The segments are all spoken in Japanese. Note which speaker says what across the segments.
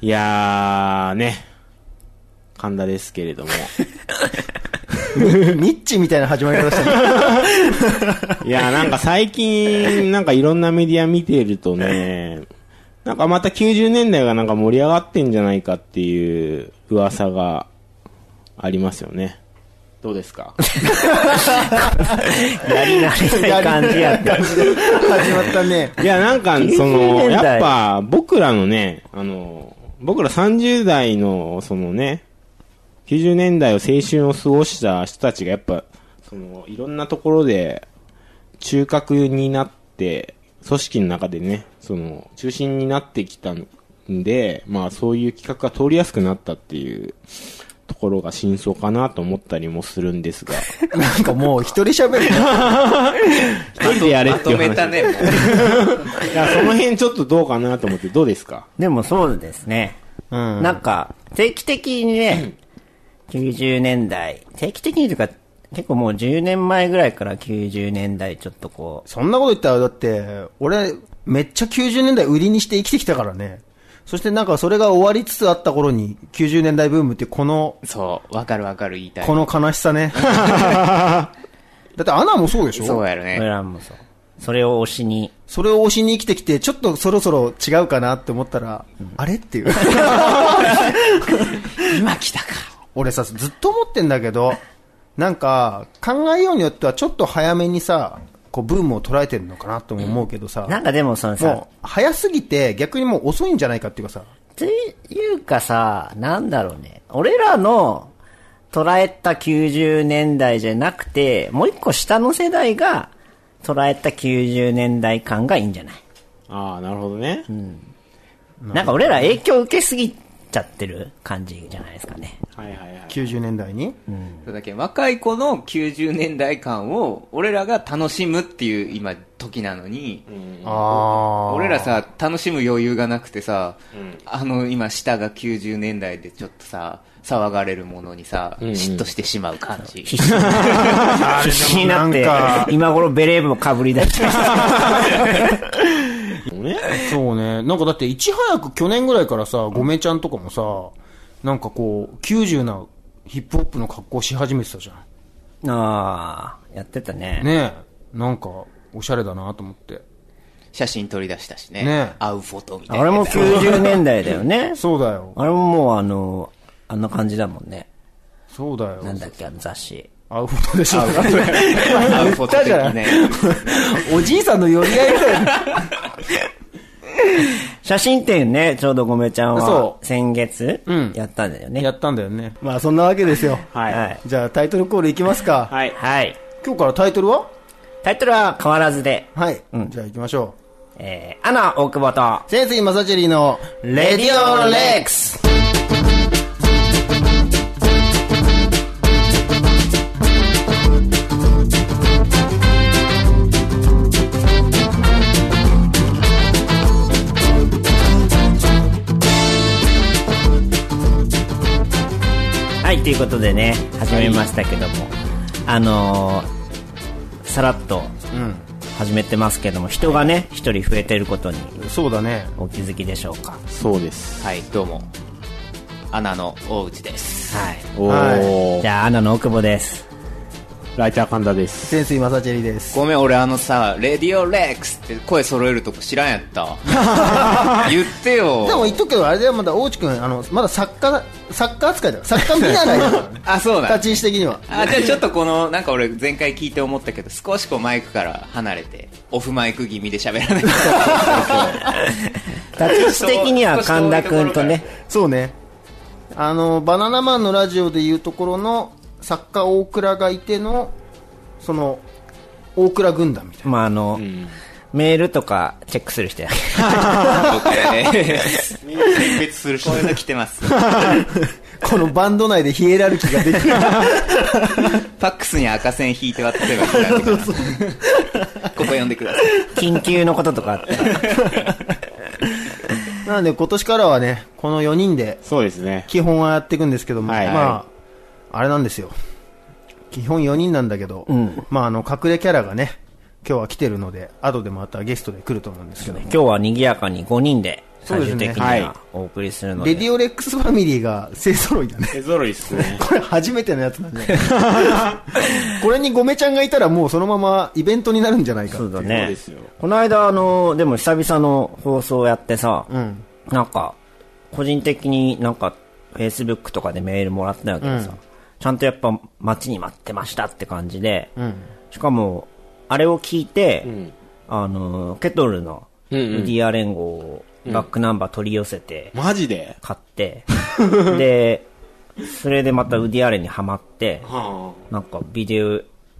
Speaker 1: いやー、ね。神田ですけれども。
Speaker 2: ニッチみたいな始まり方したね。
Speaker 1: いやー、なんか最近、なんかいろんなメディア見てるとね、なんかまた90年代がなんか盛り上がってんじゃないかっていう噂がありますよね。どうですか
Speaker 3: やり慣れない感じやった。
Speaker 2: 始まったね。
Speaker 1: いや、なんか、そ
Speaker 3: 90
Speaker 1: の、
Speaker 3: 年代
Speaker 1: やっぱ、僕らのね、あの、僕ら30代の、そのね、90年代を青春を過ごした人たちが、やっぱ、その、いろんなところで、中核になって、組織の中でね、その、中心になってきたんで、まあ、そういう企画が通りやすくなったっていう、ところが真相かなと思ったりもするんです が、
Speaker 2: なんかもう一人喋る。
Speaker 1: 一人でやれっ
Speaker 4: ま
Speaker 1: てい
Speaker 4: と
Speaker 1: う話。
Speaker 4: めたね、もう。
Speaker 1: いや、その辺ちょっとどうかなと思って、どうですか
Speaker 3: でもそうですね。
Speaker 2: うん
Speaker 3: なんか、定期的にね、90年代、定期的にというか、結構もう10年前ぐらいから90年代ちょっとこ
Speaker 2: そんなこと言ったら、だって、俺、めっちゃ90年代売りにして生きてきたからね。そしてなんかそれが終わりつつあった頃に、90年代ブームってこの、
Speaker 4: そう、わかるわかる言いたい
Speaker 2: こ。の悲しさね。だってアナもそうでしょ
Speaker 4: そうやろ
Speaker 3: う、
Speaker 4: ね
Speaker 3: 俺。らもそう。それを推しに、
Speaker 2: それを推しに生きてきて、ちょっとそろそろ違うかなって思ったら、あれっていう。
Speaker 4: 今来たか。
Speaker 2: 俺さ、ずっと思ってんだけど、なんか、考えようによってはちょっと早めにさ、こう、ブームを捉えてるのかなとも思うけどさ、
Speaker 3: なんかでもそのさ
Speaker 2: も、う、早すぎて逆にもう遅いんじゃないかっていうかさ、
Speaker 3: というかさ、なんだろうね。俺らの捉えた90年代じゃなくて、もう一個下の世代が捉えた90年代感がいいんじゃない
Speaker 1: ああ、なるほどね。
Speaker 3: なんか俺ら影響受けすぎちゃってる感じじゃないですかね。
Speaker 1: はいはいはい。
Speaker 2: 90年代に。
Speaker 4: そうだけど若い子の90年代感を俺らが楽しむっていう今時なのに、
Speaker 2: ああ
Speaker 4: 俺ら、さ楽しむ余裕がなくてさ、あの今下が90年代でちょっとさ騒がれるものにさ、
Speaker 1: んうん
Speaker 4: 嫉妬してしまう感じ、
Speaker 3: 必死必死になっ
Speaker 2: なんか
Speaker 3: て、今頃ベレー帽かぶり 出して。
Speaker 1: ね、
Speaker 2: そうね。なんかだっていち早く去年ぐらいからさ、ごめちゃんとかもさ、なんかこう、90なヒップホップの格好し始めてたじゃ
Speaker 3: ああ、やってたね。
Speaker 2: ん。ねえ。なんか、おしゃれだなと思って。
Speaker 4: 写真撮り出したしね
Speaker 2: ね
Speaker 4: 会うフォトみたい
Speaker 3: あ
Speaker 4: な
Speaker 3: れ
Speaker 4: や
Speaker 3: も
Speaker 4: つ
Speaker 3: 90年代だよね。
Speaker 2: そうだよ。
Speaker 3: あれももうあの、あんな感じだもんね。
Speaker 2: そうだよ。
Speaker 3: なんだっけ、あの雑誌。
Speaker 2: アウフトでしょ。
Speaker 4: 会うフォト的なね
Speaker 2: おじいさんの寄り合いみたいな。
Speaker 3: 写真展ね、ちょうどごめちゃんは
Speaker 2: そ、
Speaker 3: 先月
Speaker 2: うん、
Speaker 3: やったんだよね。
Speaker 2: やったんだよね。まあそんなわけですよ。
Speaker 1: はい。
Speaker 3: はい。
Speaker 2: じゃあタイトルコールいきますか。
Speaker 1: はい。
Speaker 3: はい。
Speaker 2: 今日からタイトルは
Speaker 3: タイトルは変わらずで、
Speaker 2: はい。
Speaker 3: うん
Speaker 2: じゃあ行きましょ
Speaker 3: えー、アナ大久保と、
Speaker 2: う。潜水マサチェリーの
Speaker 3: レディオレックスはい、ということでね、始めましたけども、あのーさらっと始めてますけども、人がね、一人増えてることに
Speaker 2: そうだね。
Speaker 3: お気づきでしょうか。
Speaker 1: そうです。
Speaker 4: はいどうもアナの大内です
Speaker 3: はい。
Speaker 1: おー、
Speaker 3: じゃあ、アナの奥保 です。
Speaker 1: ライター神田です。
Speaker 2: 潜水マサチェリーです。
Speaker 4: ごめん俺あのさ「レディオレックス」って声揃えるとこ知らんやった 言ってよ。
Speaker 2: でも言っとくけど、あれではまだ大内くん、あの、まだ作家、作家扱いだよ。作家見 習いだからね
Speaker 4: あそうだ
Speaker 2: 立ち位置的には。
Speaker 4: あじゃあちょっとこのなんか俺前回聞いて思ったけど少しこうマイクから離れてオフマイク気味で喋らないと
Speaker 3: 立ち位置的には神田くんとね、
Speaker 2: そうね。あの、バナナマンのラジオでいうところの、作家大倉がいての、その、大倉軍団みたいな。
Speaker 3: まあ、あの、メールとかチェックする人や。
Speaker 4: 僕 ねみんな選別する人こういうの来てます
Speaker 2: このバンド内でヒエラルキーができる。
Speaker 4: ファックスに赤線引いて渡せばいいんじゃないかなここ読んでください
Speaker 3: 緊急のこととかあったら。
Speaker 2: なので今年からはね、この4人で、
Speaker 1: そうですね。
Speaker 2: 基本はやっていくんですけども、
Speaker 1: はい
Speaker 2: まあ、あれなんですよ。基本4人なんだけど、まあ、あの、隠れキャラがね、今日は来てるので、後でまたゲストで来ると思うんですけど
Speaker 3: 今日は賑やかに5人で
Speaker 2: そう
Speaker 3: 最
Speaker 2: です
Speaker 3: 終
Speaker 2: ね
Speaker 3: 的に
Speaker 1: はい
Speaker 3: はお送りするので。
Speaker 2: レディオレックスファミリーが勢揃いだね。
Speaker 1: 手揃いっすね。
Speaker 2: これ初めてのやつなんで。これにゴメちゃんがいたらもうそのままイベントになるんじゃないか。
Speaker 3: そうだ
Speaker 1: そう
Speaker 3: ね
Speaker 1: ですよ。
Speaker 3: この間、あの、でも久々の放送やってさ、
Speaker 2: ん
Speaker 3: なんか、個人的になんか、Facebook とかでメールもらったんやけどさ、ちゃんとやっぱ待ちに待ってましたって感じで、しかも、あれを聞いて、あの、ケトルの
Speaker 1: うんうん
Speaker 3: DR 連合をバックナンバー取り寄せて、
Speaker 1: マジで
Speaker 3: 買って、で、それでまたウディアレンにハマって、
Speaker 1: は
Speaker 3: なんかビデ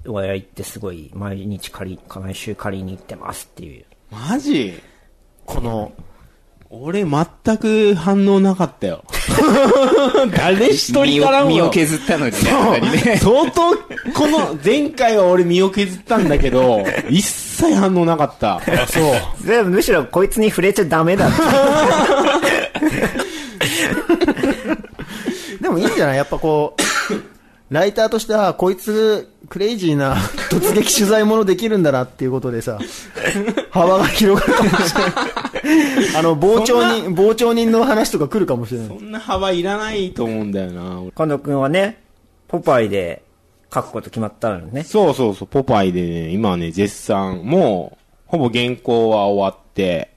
Speaker 3: オはやってすごい毎日借り、毎週借りに行ってますっていう。
Speaker 1: あ。マジ
Speaker 2: この、
Speaker 1: 俺全く反応なかった よ。誰一人からも。
Speaker 4: 身を身を削ったのにねやっぱ りね
Speaker 1: 相当、この、前回は俺身を削ったんだけど、一切反応なかった。そう。
Speaker 3: でむしろこいつに触れちゃダメ だって。
Speaker 2: でもいいんじゃないやっぱこ う、ライターとしては、こいつ、クレイジーな 突撃取材ものできるんだなっていうことでさ、幅が広がるかもしれ ない。あの、傍聴人、傍聴人の話とか来るかもしれない
Speaker 1: そ。んな幅いらないと思うんだよな。俺
Speaker 3: 今度くんはね、ポパイで書くこと決まったのね。
Speaker 1: そうそうそう、ポパイでね、今ね、絶賛、もう、ほぼ原稿は終わって、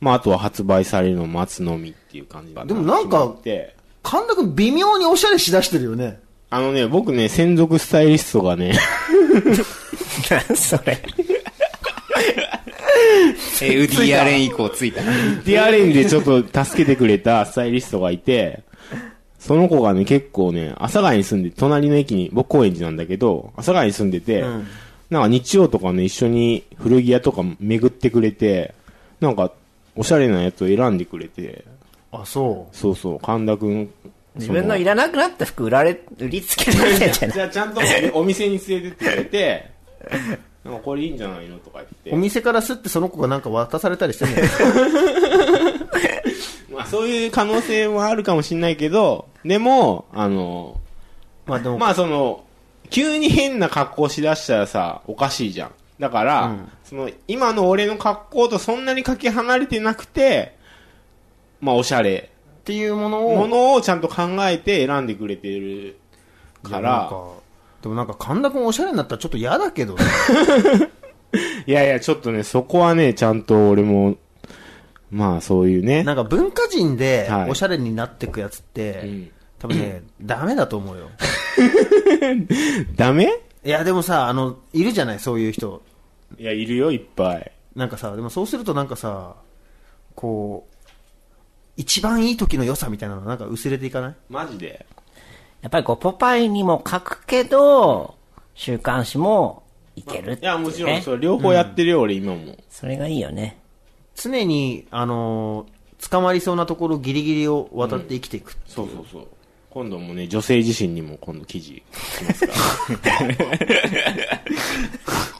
Speaker 1: まあ、あとは発売されるのを待つのみっていう感じだ
Speaker 2: でもなん
Speaker 1: 決
Speaker 2: か
Speaker 1: まって
Speaker 2: 神田くん微妙におしゃれしだしてるよね。
Speaker 1: あのね、僕ね、専属スタイリストが ね、
Speaker 3: それ。
Speaker 4: えウディアレン以降ついた。
Speaker 1: ディアレンでちょっと助けてくれた スタイリストがいて、その子がね、結構ね、阿佐ヶ谷に住んで、隣の駅に、僕高円寺なんだけど、阿佐ヶ谷に住んでて、なんか日曜とかね、一緒に古着屋とか巡ってくれて、なんか、おしゃれなやつを選んでくれて、
Speaker 2: あ、そ
Speaker 1: そうそう、神田くん。
Speaker 3: 自分のいらなくなった服売られ、売りつけられてん じゃない
Speaker 1: じゃあちゃんとお店に連れてってくれ て、なんかこれいいんじゃないのとか
Speaker 2: う。
Speaker 1: 言
Speaker 2: お
Speaker 1: って。
Speaker 2: 店からすってその子がなんか渡されたりしてんの
Speaker 1: まあそういう可能性もあるかもしれないけど、でも、あの、
Speaker 2: まあでも、
Speaker 1: まあその、急に変な格好しだしたらさ、おかしいじゃん。だから、その、今の俺の格好とそんなにかけ離れてなくて、まあおしゃれ。
Speaker 2: っていうものを、
Speaker 1: ものをちゃんと考えて選んでくれてるか
Speaker 2: いやなん
Speaker 1: ら、
Speaker 2: かでもなんか神田くんおしゃれになったらちょっと嫌だけどね。
Speaker 1: いやいや、ちょっとね、そこはね、ちゃんと俺も、まあそういうね
Speaker 2: な。んか文化人で
Speaker 1: はい
Speaker 2: おしゃれになってくやつって、
Speaker 1: ん
Speaker 2: 多分ね、ダメだと思うよ。
Speaker 1: ダメ
Speaker 2: いや、でもさ、あの、いるじゃない、そういう人。
Speaker 1: いや、いるよ、いっぱい。
Speaker 2: なんかさ、でもそうするとなんかさ、こう、一番いい時の良さみたいなのなんか薄れていかない
Speaker 1: マジで
Speaker 3: やっぱりこう、ポパイにも書くけど、週刊誌もいけるっていう、ね。
Speaker 1: いや、もちろん、そう、両方やってるよ、俺、今も。
Speaker 3: それがいいよね。
Speaker 2: 常に、あのー捕まりそうなところギリギリを渡って生きていく。
Speaker 1: そうそうそう。今度もね、女性自身にも今度記事書きます から。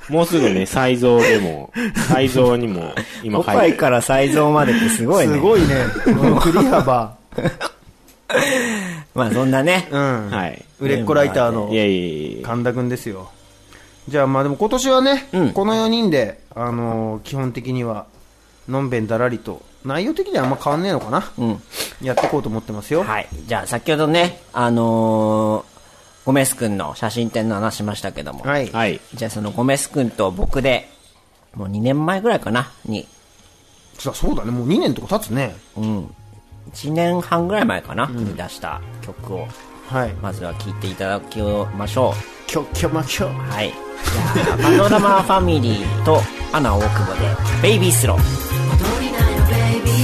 Speaker 1: もうすぐね、才蔵でも、才蔵にも今
Speaker 3: ポ
Speaker 1: 書
Speaker 3: パ
Speaker 1: い
Speaker 3: イ
Speaker 1: て
Speaker 3: から才蔵までってすごいね。
Speaker 2: すごいね。この振り幅。
Speaker 3: まあそんなね。
Speaker 2: うん。
Speaker 1: はい。
Speaker 2: 売れっ子ライターの
Speaker 1: いやいやいや
Speaker 2: 神田くんですよ。じゃあまあでも今年はね、
Speaker 3: うん
Speaker 2: この4人で、あのー基本的には、のんべんだらりと、内容的にはあんま変わんねえのかな。
Speaker 3: うん。
Speaker 2: やっていこうと思ってますよ。
Speaker 3: はい。じゃあ、先ほどね、あのーゴメス君の写真展の話しましたけども。
Speaker 2: はい。
Speaker 1: はい。
Speaker 3: じゃあ、そのゴメス君と僕で、もう2年前ぐらいかな、に、
Speaker 2: そうそうだね、もう2年とか経つね。
Speaker 3: うん。1年半ぐらい前かな、に出した曲を、
Speaker 2: はい。
Speaker 3: まずは聴いていただきましょう。
Speaker 2: きょ、きょまきょ。
Speaker 3: はい。じゃあ、パノラマファミリーと、アナ大久保で、ベイビースロー。
Speaker 5: 踊りなよベイビー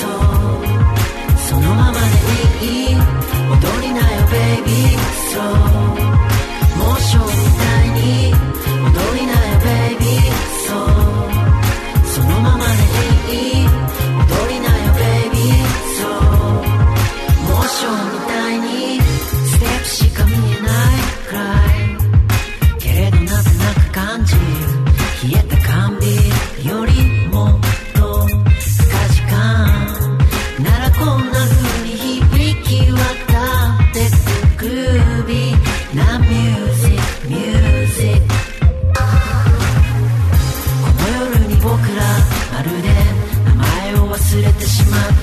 Speaker 5: そうそのままでいい踊りなよベイビーそうモーションみたいに踊りなよベイビーそうそのままでいい踊りなよベイビーそうモーションみたいにステップしか見えないくらいけれどなぜなく感じる冷えた缶ビールよりもっと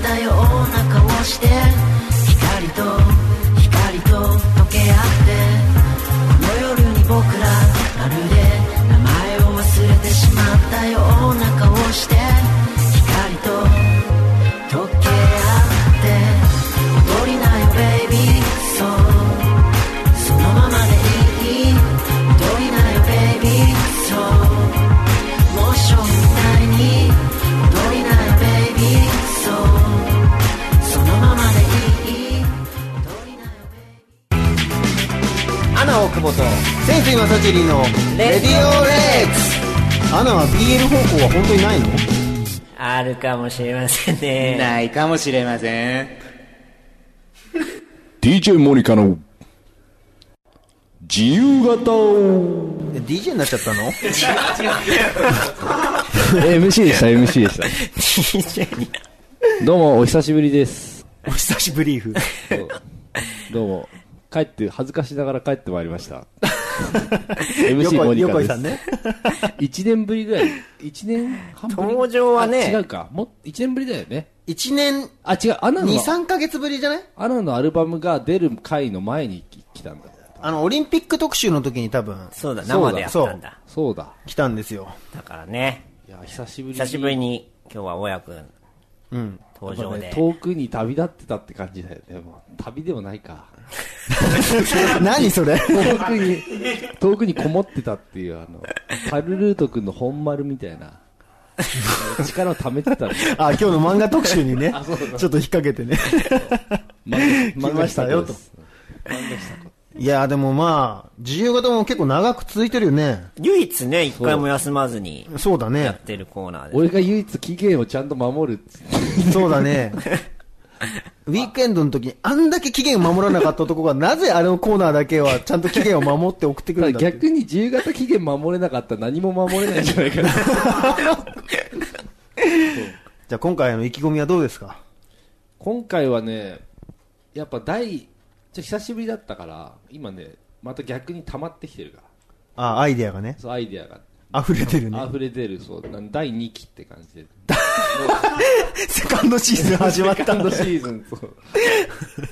Speaker 5: らして光と光と溶け合ってこの夜に僕らまるで名前を忘れてしまったような顔して光と溶け合って踊りなよベイビーそうそのままでいい踊りなよベイビーそうモーションみたいに踊りなよベイビーそうそのままでいい踊りなよベイビー
Speaker 2: アナ・オクボとセンスイマサチリのレディオレックスアナは BL 方向は本当にないの
Speaker 6: あるかもしれませんね。
Speaker 4: ないかもしれません。
Speaker 1: DJ モニカの自由形を
Speaker 2: DJ になっちゃったの
Speaker 7: MC でした MC でした
Speaker 6: DJ に。
Speaker 7: どうもお久しぶりです
Speaker 2: お久しぶりーふ
Speaker 7: どうも帰って恥ずかしながら帰ってまいりました
Speaker 2: 横
Speaker 7: MC モニカ
Speaker 2: 横
Speaker 7: で
Speaker 2: 井
Speaker 7: す
Speaker 2: さん ね
Speaker 7: 1年ぶりぐらい1年半ぶり
Speaker 6: 登場はね
Speaker 7: あ違うかも1年ぶりだよね
Speaker 2: 1年
Speaker 7: あ違うアナの
Speaker 2: 23ヶ月ぶりじゃない
Speaker 7: アナのアルバムが出る回の前に来たんだ
Speaker 2: あのオリンピック特集の時に多分
Speaker 6: そうだ、
Speaker 7: そうだ
Speaker 6: 生でやったんだ。
Speaker 7: そうだ
Speaker 2: 来たんですよ
Speaker 6: だからね、
Speaker 7: いや久しぶり
Speaker 6: 久しぶりに今日は親くん
Speaker 2: うん
Speaker 6: 登
Speaker 7: やっ
Speaker 6: 場
Speaker 7: ぱね
Speaker 6: で。
Speaker 7: 遠くに旅立ってたって感じだよねもう旅でもないか
Speaker 2: 何そ れ
Speaker 7: 遠くに遠くにこもってたっていうあのパルルート君の本丸みたいな力を貯めてたの
Speaker 2: あ今日の漫画特集にねちょ
Speaker 7: そう
Speaker 2: っ
Speaker 7: だ
Speaker 2: と引っ掛けてね
Speaker 7: 漫画した よ
Speaker 2: 来ま
Speaker 7: と
Speaker 2: しいやでもまあ自由形も結構長く続いてるよね
Speaker 6: 唯一ね、一回も休まずに
Speaker 2: そうだ
Speaker 6: や
Speaker 2: ね
Speaker 6: ってるコーナーで。
Speaker 7: 俺が唯一期限をちゃんと守るっつって
Speaker 2: そうだねウィークエンドの時にあんだけ期限を守らなかった男がなぜあれのコーナーだけはちゃんと期限を守って送ってくるんだ って
Speaker 7: 逆に自由形期限守れなかったら何も守れないんじゃないかな
Speaker 2: じゃあ今回の意気込みはどうですか
Speaker 7: 今回はねやっぱ第ちょっと久しぶりだったから今ねまた逆に溜まってきてるから
Speaker 2: あアイデアがね
Speaker 7: そうアイデアが
Speaker 2: 溢れてるね
Speaker 7: 溢れ出るそうなん第2期って感 じで
Speaker 2: セカンドシーズン始まっ
Speaker 7: セカンドシーズンそう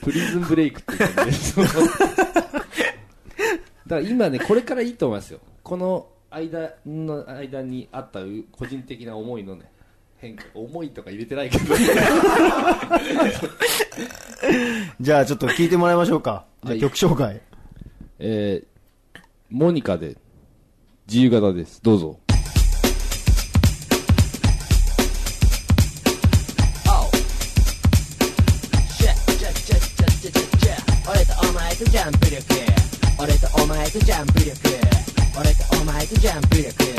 Speaker 7: プリズンブレイクっていう感じですそうだから今ねこれからいいと思いますよこの間の間にあったう個人的な思いのね変化思いとか入れてないけど
Speaker 2: じゃあちょっと聞いてもらいましょうかじゃあ曲紹介
Speaker 7: えーモニカで自由形ですどうぞ
Speaker 3: 俺とお前とジャンプ力俺とお前とジャンプ力俺とお前とジャンプ力俺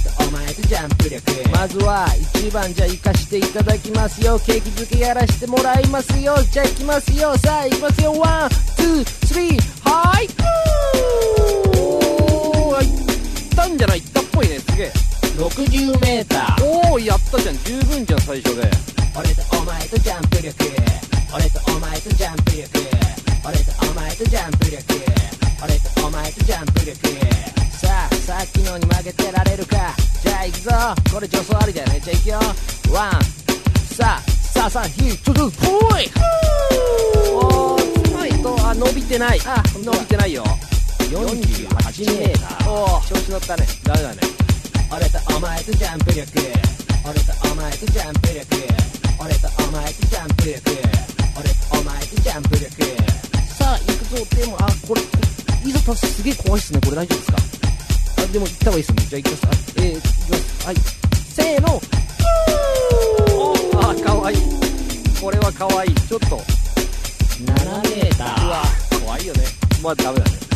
Speaker 3: とお前とジャンプ力まずは一番じゃ行かしていただきますよ景気づけやらしてもらいますよじゃあ行きますよさあ行きますよワンツースリーはいおー行ったんじゃない行ったっぽいねすげえ 60m おおやったじゃん十分じゃん最初で俺とお前とジャンプ力俺とお前とジャンプ力俺とお前とジャンプ力俺とお前とジャンプ力さあさっきのに負けてられるかじゃあ行くぞこれ助走ありだよねじゃあ行くよワンさあさあさあヒートゥーほいおーはいとあ伸びてないあ伸びてないよ48メーターおー調子乗ったねダメだね俺とお前とジャンプ力俺とお前とジャンプ力俺とお前とジャンプ力俺とお前とジャンプ力さあ行くぞでもあこれいざ達成すげえ怖いっすねこれ大丈夫ですかあでも行った方がいいっすねじゃあ行きますあえー、行きますはいせーのあかわいいこれはかわいいちょっと7メーターうわ怖いよねまあダメだね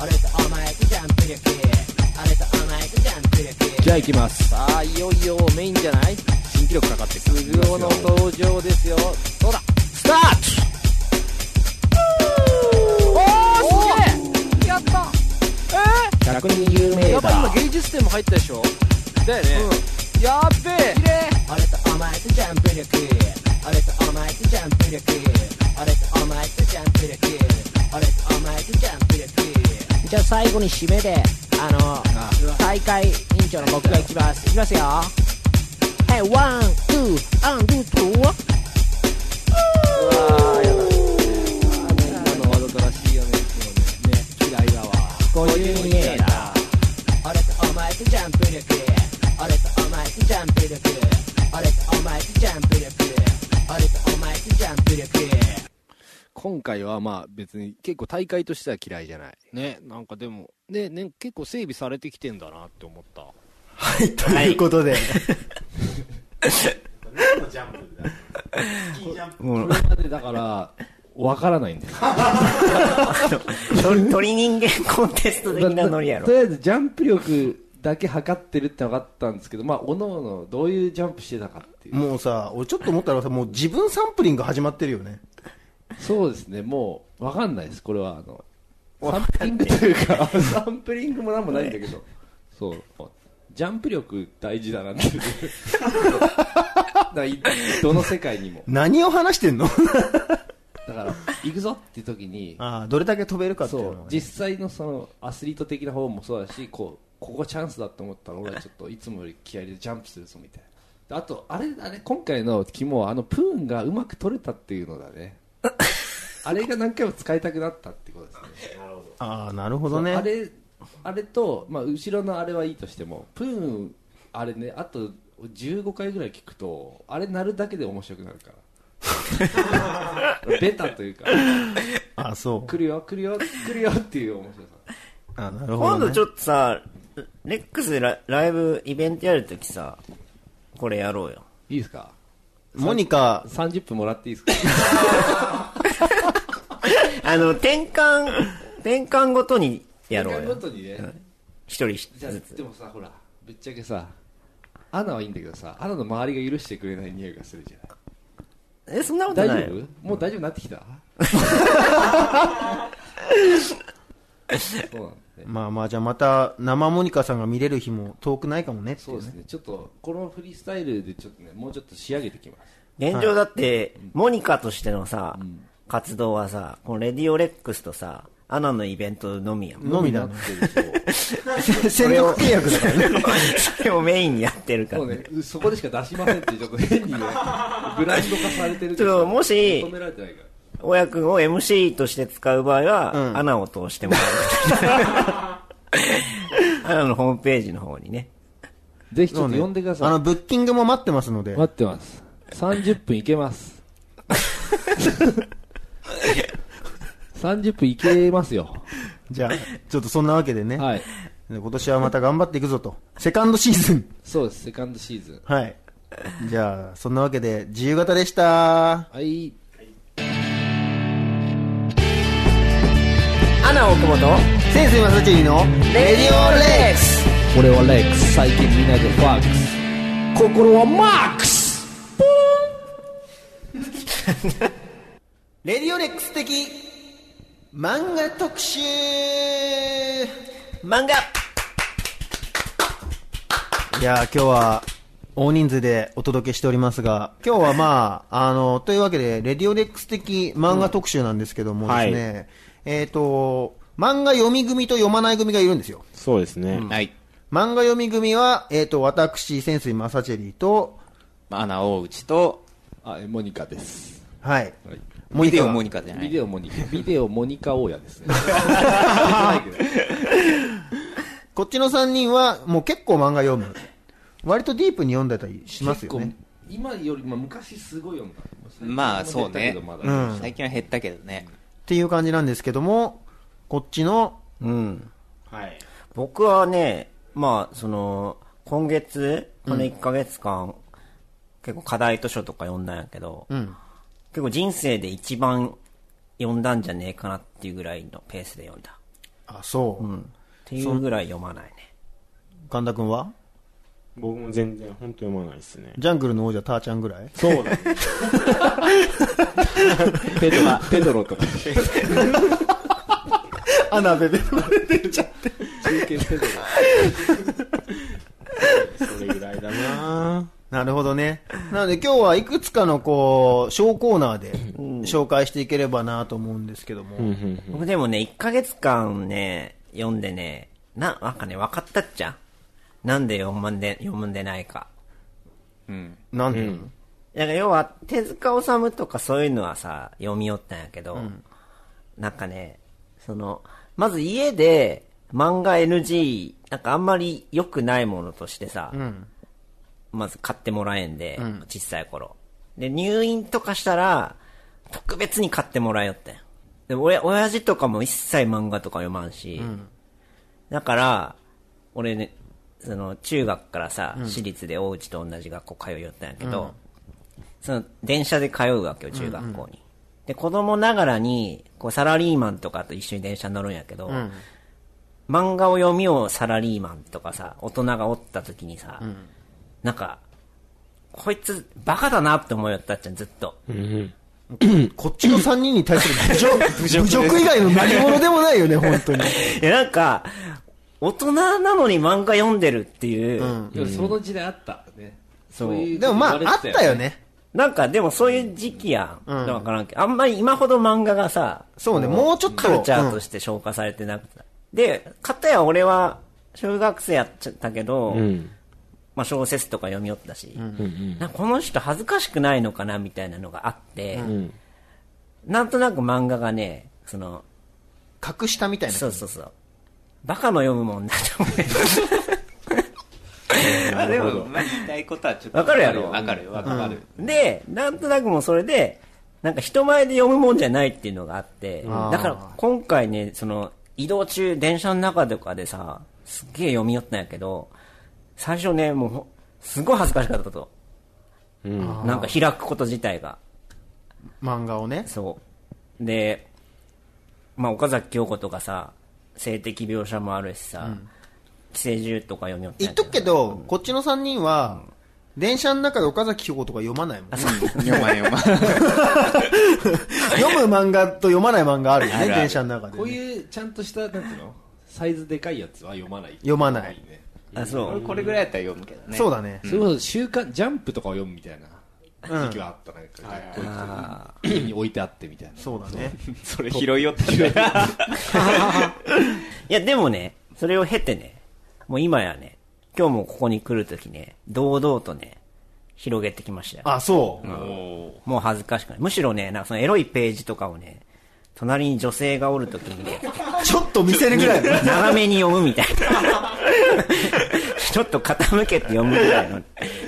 Speaker 3: 俺とお前とジャンプ力俺とお前とジャンプ力じゃあ行きますさあいよいよメインじゃない新記録かかってくるの登場ですよそうだスタート
Speaker 8: 120メーターやっぱ今芸術点も入ったでしょだよね、うん、やっべえ
Speaker 5: 俺とお前とジャンプ力俺とお前とジャンプ力俺とお前とジャンプ力俺とお前とジャンプ力じゃあ最後に締めであの大会委員長の僕が行きます行きますよはい one two and two
Speaker 8: 今のワードとらしいよねいつもねね嫌いだわ
Speaker 5: 52メー ター俺とお前とジャンプ力俺とお前とジャンプ力俺とお前とジャンプ力俺とお前とジャンプ力
Speaker 7: 今回はまあ別に結構大会としては嫌いじゃない。ね、なんかでも、ね、ね、結構整備されてきてんだなって思った。
Speaker 2: はい、ということで、
Speaker 1: ジャンプだ。スキージャンプ。
Speaker 7: これまでだから、わからないんだ よ。
Speaker 3: 鳥鳥人間コンテスト的なノリやろ
Speaker 7: と。りあえずジャンプ力だけ測ってるって分かったんですけど、まあ、おのおのどういうジャンプしてたかっていう。
Speaker 2: もうさ、俺ちょっと思ったらさ、もう自分サンプリング始まってるよね。
Speaker 7: そうですね、もう、わかんないです、これは。あの、サンプリングというか、サンプリングもなんもないんだけ ど。そう。ジャンプ力大事だなっ ていう。 だからいどの世界にも。
Speaker 2: 何を話してんの
Speaker 7: だから、行くぞって時に、
Speaker 2: ああ、どれだけ飛べるかっていう
Speaker 7: そ
Speaker 2: の
Speaker 7: う
Speaker 2: が、ね。
Speaker 7: 実際のそのアスリート的な方もそうだし、こう、ここチャンスだと思ったら、俺はちょっといつもより気合いでジャンプするぞみたいな。あと、あれだね、今回の肝は、あの、プーンがうまく取れたっていうの だね。あれが何回も使いたくなったってことですね。
Speaker 2: ああ、なるほどね。
Speaker 7: あれ、あれと、まあ、後ろのあれはいいとしても、プーン、あれね、あと15回ぐらい聞くと、あれ鳴るだけで面白くなる から。ベタというか、
Speaker 2: あそう。
Speaker 7: 来るよ、来るよ、来るよっていう面白さ。
Speaker 2: あなるほ
Speaker 3: 今
Speaker 2: ど、
Speaker 3: 度
Speaker 2: ね。
Speaker 3: ちょっとさ、レックスラライブイベントやるときさ、これやろうよ。
Speaker 7: いいですか
Speaker 2: モニカ、
Speaker 7: 30分もらっていいですか
Speaker 3: あの、転 換、転換ごとにやろう
Speaker 7: ご
Speaker 3: よ。
Speaker 7: とにね、
Speaker 3: 一人ず
Speaker 7: じゃあ
Speaker 3: つ
Speaker 7: で。もさほらぶっちゃけさアナはいいんだけどさアナの周りが許してくれない匂いがするじゃ
Speaker 3: え、そんなこと
Speaker 7: ない
Speaker 3: な
Speaker 7: 大
Speaker 3: い
Speaker 7: 丈
Speaker 3: よ。
Speaker 7: 夫もう大丈夫になってきた そうなんですね
Speaker 2: まあまあ、じゃあまた生モニカさんが見れる日も遠くないかもねってい
Speaker 7: そうう
Speaker 2: ね
Speaker 7: ですねちょっとこのフリースタイルでちょっとねもうちょっと仕上げてきます
Speaker 3: 現状だって、モニカとしてのさ、活動はさ、このレディオレックスとさ、アナのイベントのみやもん。
Speaker 2: のみだ
Speaker 7: な
Speaker 2: ね。
Speaker 7: ってるでし
Speaker 2: 戦略契約だからね。
Speaker 3: それをメインにやってるか
Speaker 7: ょそ
Speaker 3: ら
Speaker 7: う
Speaker 3: ね。
Speaker 7: ねそこでしか出しませんってちょっと変にねブランド化されてる
Speaker 3: ちょっともし
Speaker 7: 求められてないから
Speaker 3: 大家君を MC として使う場合は、
Speaker 2: うん
Speaker 3: アナを通しても らう。アナのホームページの方にね。
Speaker 7: ぜひちょっと呼んでください、
Speaker 2: あの、ブッキングも待ってますので。
Speaker 7: 待ってます30分いけます 30分いけますよ
Speaker 2: じゃあ、ちょっとそんなわけでね。
Speaker 7: はい
Speaker 2: 今年はまた頑張っていくぞと。セカンドシーズン。
Speaker 7: そうですセカンドシーズン
Speaker 2: はい。じゃあ、そんなわけで、自由形でした。
Speaker 7: はい
Speaker 3: アナ奥本
Speaker 2: 先生正樹のレディオレックス
Speaker 7: 俺はレックス最近見ないでファックス心はマックス
Speaker 2: レディオレックス的漫画特集
Speaker 3: 漫画
Speaker 2: いやー今日は大人数でお届けしておりますが今日はまあ あのというわけでレディオレックス的漫画特集なんですけどもですね、
Speaker 1: うん
Speaker 2: えっ、と漫画読み組と読まない組がいるんですよ
Speaker 1: そうですね。
Speaker 4: はい。
Speaker 2: 漫画読み組は、えっ、と、私、潜水正チェリーと、
Speaker 4: アナ大内と、
Speaker 7: あえモニカです、
Speaker 2: はい。
Speaker 7: はい、
Speaker 2: モニカ
Speaker 4: ビデ
Speaker 2: が
Speaker 4: オモニカじゃな
Speaker 7: ビ
Speaker 4: い。
Speaker 7: デオモニカビデオモニカ大家です ね
Speaker 2: こっちの3人は、もう結構漫画読む。割とディープに読んだりします
Speaker 7: 結
Speaker 2: よ
Speaker 7: 構
Speaker 2: ね。
Speaker 7: 今よりも昔すごい読んだ
Speaker 4: まあそうね
Speaker 7: まだ
Speaker 2: うん
Speaker 4: 最近は減ったけどね。
Speaker 2: っていう感じなんですけども、こっちの、
Speaker 3: うん。
Speaker 1: はい。
Speaker 3: 僕はね、まあ、その、今月、この1ヶ月間、結構課題図書とか読んだんやけど、
Speaker 2: うん。
Speaker 3: 結構人生で一番読んだんじゃねえかなっていうぐらいのペースで読んだ。
Speaker 2: あ、そう。
Speaker 3: っていうぐらい読まないね。
Speaker 2: 神田くんは
Speaker 1: 僕も全然、本当読まないですね。
Speaker 2: ジャングルの王者、ターちゃんぐらい
Speaker 1: そうだね。
Speaker 7: ペドロペドロとか
Speaker 2: アナベベ。
Speaker 7: 中継してる
Speaker 1: それぐらいだな
Speaker 2: なるほどね。なので今日はいくつかのこう、小コーナーで紹介していければなと思うんですけども。
Speaker 3: 僕でもね、1ヶ月間ね、読んでね、な、なんかね、分かったっちゃ。なんで読むんで、読むんでないか。
Speaker 2: なんで、
Speaker 3: だから要は、手塚治虫とかそういうのはさ、読み寄ったんやけど、なんかね、その、まず家で漫画 NG、なんかあんまり良くないものとしてさ、まず買ってもらえんで、小さい頃。で、入院とかしたら、特別に買ってもらえよってん。で、俺、親父とかも一切漫画とか読まんし、だから、俺ね、その、中学からさ、私立で大内と同じ学校通いよったんやけど、その、電車で通うわけよ、中学校に。で、子供ながらに、こう、サラリーマンとかと一緒に電車乗るんやけど、漫画を読みをサラリーマンとかさ、大人がおった時にさ、なんか、こいつ、バカだなって思いよったっちゃん、ずっと。
Speaker 2: こっちの3人に対する侮辱、侮辱以外の何者でもないよ ね、本当に。
Speaker 3: いや、なんか、大人なのに漫画読んでるっていう、
Speaker 7: でもその時代あったねそういう
Speaker 2: でもまあ、あったよね。
Speaker 3: なんかでもそういう時期やん。わからんけど、あんまり今ほど漫画がさ、
Speaker 2: そうね、もうちょっと。
Speaker 3: カルチャー
Speaker 2: う
Speaker 3: と
Speaker 2: ん
Speaker 3: して消化されてなくて。で、かたや俺は小学生やっちゃったけど、まあ小説とか読み寄ったし、なんかこの人恥ずかしくないのかなみたいなのがあって、なんとなく漫画がね、その、
Speaker 2: 隠したみたいな。
Speaker 3: そうそうそう。バカの読むもんだと思
Speaker 4: あでも、まあ、言いたいことはちょっと
Speaker 3: わかるやろ
Speaker 4: わかるよわかる、
Speaker 3: う。で、なんとなくもうそれで、なんか人前で読むもんじゃないっていうのがあって、だから今回ね、その移動中、電車の中とかでさ、すっげえ読み寄ったんやけど、最初ね、もうほ、すごい恥ずかしかったと。なんか開くこと自体が。
Speaker 2: 漫画をね。
Speaker 3: そう。で、まあ、岡崎京子とかさ、性的描写もあるしさ、寄生獣とか読み寄った
Speaker 2: 言
Speaker 3: ん
Speaker 2: っ
Speaker 3: やけ
Speaker 2: と
Speaker 3: ど
Speaker 2: くけど、こっちの3人は、電車の中で岡崎京子とか読まないもん。読
Speaker 4: 読まん読まん
Speaker 2: む漫画と読まない漫画あるよ
Speaker 4: あ
Speaker 2: ね、
Speaker 4: るある
Speaker 2: 電車の中でね。
Speaker 7: こういうちゃんとしたなんていうのサイズでかいやつは読まない
Speaker 2: 読まない
Speaker 7: ね
Speaker 3: あ、そ
Speaker 4: 俺
Speaker 3: う。
Speaker 4: これぐらいやったら読むけどね
Speaker 2: そうだね。
Speaker 7: それこそ週刊ジャンプとかを読むみたいな時期はあったなんかこういう家に置いてあってみたいな
Speaker 2: そうだね。
Speaker 4: それ拾い寄ったんだよ
Speaker 3: いや、でもね、それを経てね、もう今やね、今日もここに来るときね、堂々とね、広げてきましたよ。
Speaker 2: あ、そう。
Speaker 3: もう恥ずかしくない。むしろね、なんかそのエロいページとかをね、隣に女性がおるときにね、
Speaker 2: ちょっと見せるぐらいの。
Speaker 3: 斜めに読むみたいな。ちょっと傾けて読むぐらいの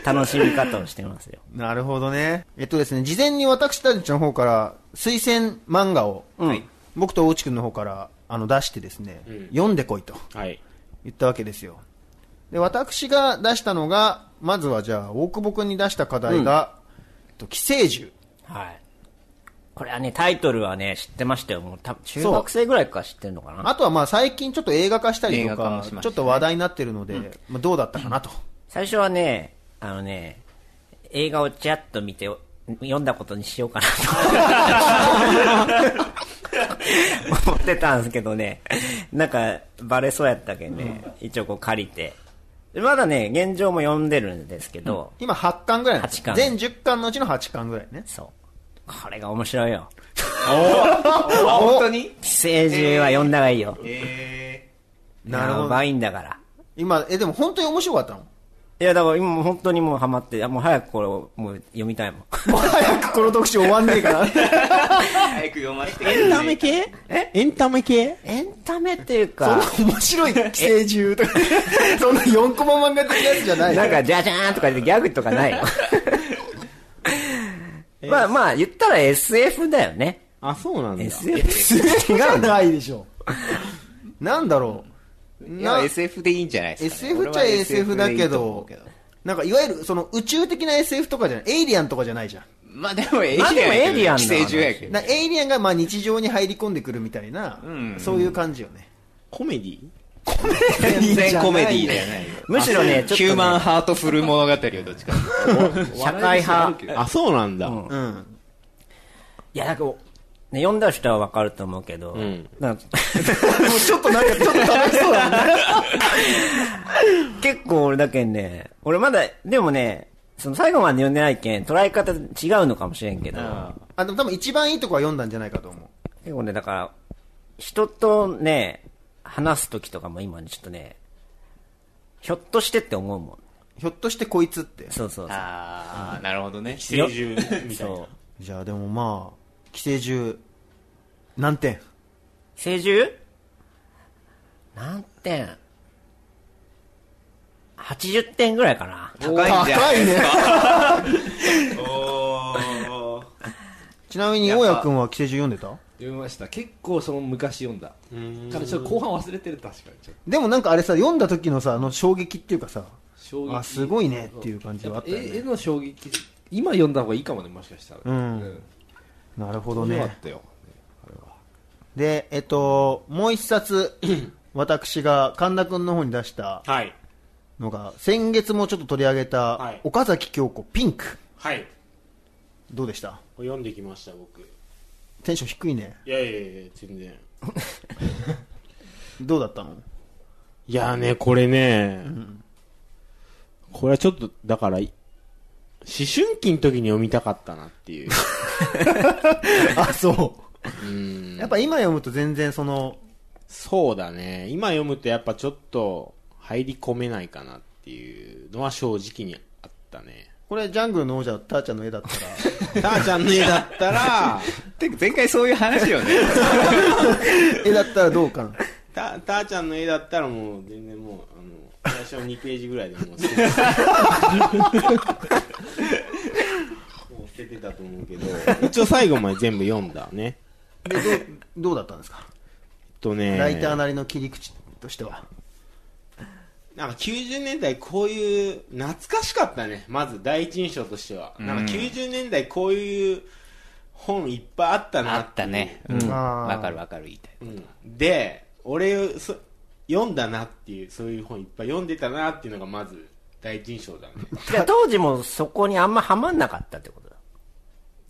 Speaker 3: 楽しみ方をしてますよ。
Speaker 2: なるほどね。えっとですね、事前に私たちの方から推薦漫画を、
Speaker 3: うん。
Speaker 2: 僕と大内くんの方からあの出してですね、読んでこいと
Speaker 1: はい。
Speaker 2: 言ったわけですよ。で、私が出したのが、まずはじゃあ、大久保くんに出した課題が、えっと寄生獣。
Speaker 3: はい。これはね、タイトルはね、知ってましたよ。もう多分中学生ぐらいから知ってるのかな。
Speaker 2: あとはまあ最近ちょっと映画化したりと
Speaker 4: 映画化
Speaker 2: か
Speaker 4: もし、ましたね
Speaker 2: ちょっと話題になってるので、まあどうだったかなと。
Speaker 3: 最初はね、あのね、映画をちらっと見て、読んだことにしようかなと思ってたんですけどね、なんかバレそうやったけんね、一応こう借りて。でまだね、現状も読んでるんですけど、
Speaker 2: 今8巻ぐらいなんです
Speaker 3: 8巻
Speaker 2: 全10巻のうちの8巻ぐらいね。
Speaker 3: そう。これが面白いよ。
Speaker 4: あ 本当に
Speaker 3: 寄生獣は読んだ方がいいよ。
Speaker 4: え
Speaker 2: なるほ
Speaker 3: や
Speaker 2: ど。
Speaker 3: ばいんだから。
Speaker 2: 今、え、でも本当に面白かったの
Speaker 3: いや、だから今もう本当にもうハマって、いやもう早くこれをもう読みたいもん。
Speaker 2: 早くこの特集終わんねえかな。
Speaker 4: ー、早く読ませてくれる
Speaker 3: 系え
Speaker 1: エンタメ系
Speaker 3: エンタメっていうか。
Speaker 2: 面白い寄生獣とか、そんな4コマ漫画的なやつじゃない。
Speaker 3: なんか、じゃじゃーんとかでギャグとかないよ。 まあまあ、言ったら SF だよね。
Speaker 1: あ、そうなんだ。
Speaker 3: SF。
Speaker 2: 違うないでしょ。 なんだろう。
Speaker 4: いや
Speaker 2: な
Speaker 4: SF でいいんじゃないですか、
Speaker 2: SF っちゃ SF だけど
Speaker 4: 俺は SF でいいと思う、
Speaker 2: なんかいわゆるその宇宙的な SF とかじゃない、エイリアンとかじゃないじゃん。
Speaker 4: まあでもエイリ
Speaker 3: ま
Speaker 4: ア
Speaker 3: あ
Speaker 4: ン
Speaker 3: でもエイリアンだ
Speaker 4: 寄生獣やけど
Speaker 2: なエイリアンがまあ日常に入り込んでくるみたいな、そういう感じよね。
Speaker 1: コメディ
Speaker 4: 全然コメディーじゃないよ
Speaker 3: むしろね、ちょっとね、
Speaker 4: ヒューマンハートフル物語をどっちか
Speaker 3: 社会派。
Speaker 1: あ、そうなんだ。
Speaker 3: うん
Speaker 2: うん。
Speaker 3: いや、なんか、ね、読んだ人はわかると思うけど、
Speaker 1: ん
Speaker 3: なんか
Speaker 2: もうちょっとなんか、ちょっと楽しそうだな。
Speaker 3: 結構俺だけんね、俺まだ、でもね、その最後まで読んでないけん、捉え方違うのかもしれんけど、
Speaker 2: あ、でも多分一番いいとこは読んだんじゃないかと思う。
Speaker 3: 結構ね、だから、人とね、話すときとかも今ね、ちょっとね、ひょっとしてって思うもん。
Speaker 2: ひょっとしてこいつって。
Speaker 3: そうそうそう。
Speaker 4: ああ、なるほどね。
Speaker 1: 寄生獣みたい
Speaker 3: そう
Speaker 1: な。
Speaker 2: じゃあでもまあ、寄生獣、何点
Speaker 3: 成獣何点 ?80 点ぐらいかな。
Speaker 4: 高いんじゃないですか。
Speaker 2: ちなみに、大家くんは寄生獣読んでた
Speaker 7: 読みました結構その昔読んだからちょっと後半忘れてる確かにちょっと
Speaker 2: でもなんかあれさ、読んだ時のさ、あの衝撃っていうかさ、
Speaker 7: 衝撃
Speaker 2: あ、すごいねっていう感じはあ
Speaker 7: や
Speaker 2: っ
Speaker 7: ったぱ
Speaker 2: よ
Speaker 7: 絵
Speaker 2: ね。
Speaker 7: 絵の衝撃今読んだ方がいいかもねもしかしたら
Speaker 2: うんなるほど
Speaker 7: 面白か
Speaker 2: ね
Speaker 7: っ。たよ
Speaker 2: で、えっと、もう一冊、 私が神田くんの方に出した
Speaker 1: はい。
Speaker 2: のが、先月もちょっと取り上げ
Speaker 1: は
Speaker 2: た
Speaker 1: い、
Speaker 2: 岡崎京子、ピンク。
Speaker 1: はい。
Speaker 2: どうでした
Speaker 1: これ読んできました、僕。い
Speaker 2: テンション低いね。
Speaker 1: やいやいや、全然。
Speaker 2: どうだったの
Speaker 1: いやーね、これね、これはちょっと、だから、い思春期の時に読みたかったなって いう。
Speaker 2: あ、そうう。
Speaker 1: ん。
Speaker 2: やっぱ今読むと全然その、
Speaker 1: そうだね。今読むとやっぱちょっと入り込めないかなっていうのは正直にあったね。
Speaker 2: これジャングルの王者、ターちゃんの絵だったら、
Speaker 1: たーちゃんの絵だったら、
Speaker 4: てか前回そういう話よね。
Speaker 2: 絵だったらどうかな。
Speaker 1: た、たーちゃんの絵だったらもう全然もう、あの、最初2ページぐらいでもう捨ててもう捨ててたと思うけど、一応最後まで全部読んだね。
Speaker 2: でどうどうだったんですか、
Speaker 1: えっとね、
Speaker 2: ライターなりの切り口としては。
Speaker 1: なんか90年代こういう、懐かしかったね。まず第一印象としては。なんか90年代こういう本いっぱいあったな
Speaker 4: あ
Speaker 1: っていう
Speaker 4: ったね。うんん。
Speaker 2: あー
Speaker 4: わかるわかる言いたい。
Speaker 1: うん。で、俺、そ読んだなっていう、そういう本いっぱい読んでたなっていうのがまず第一印象 だね。
Speaker 3: じ ゃあ当時もそこにあんまハマんなかったってことだ。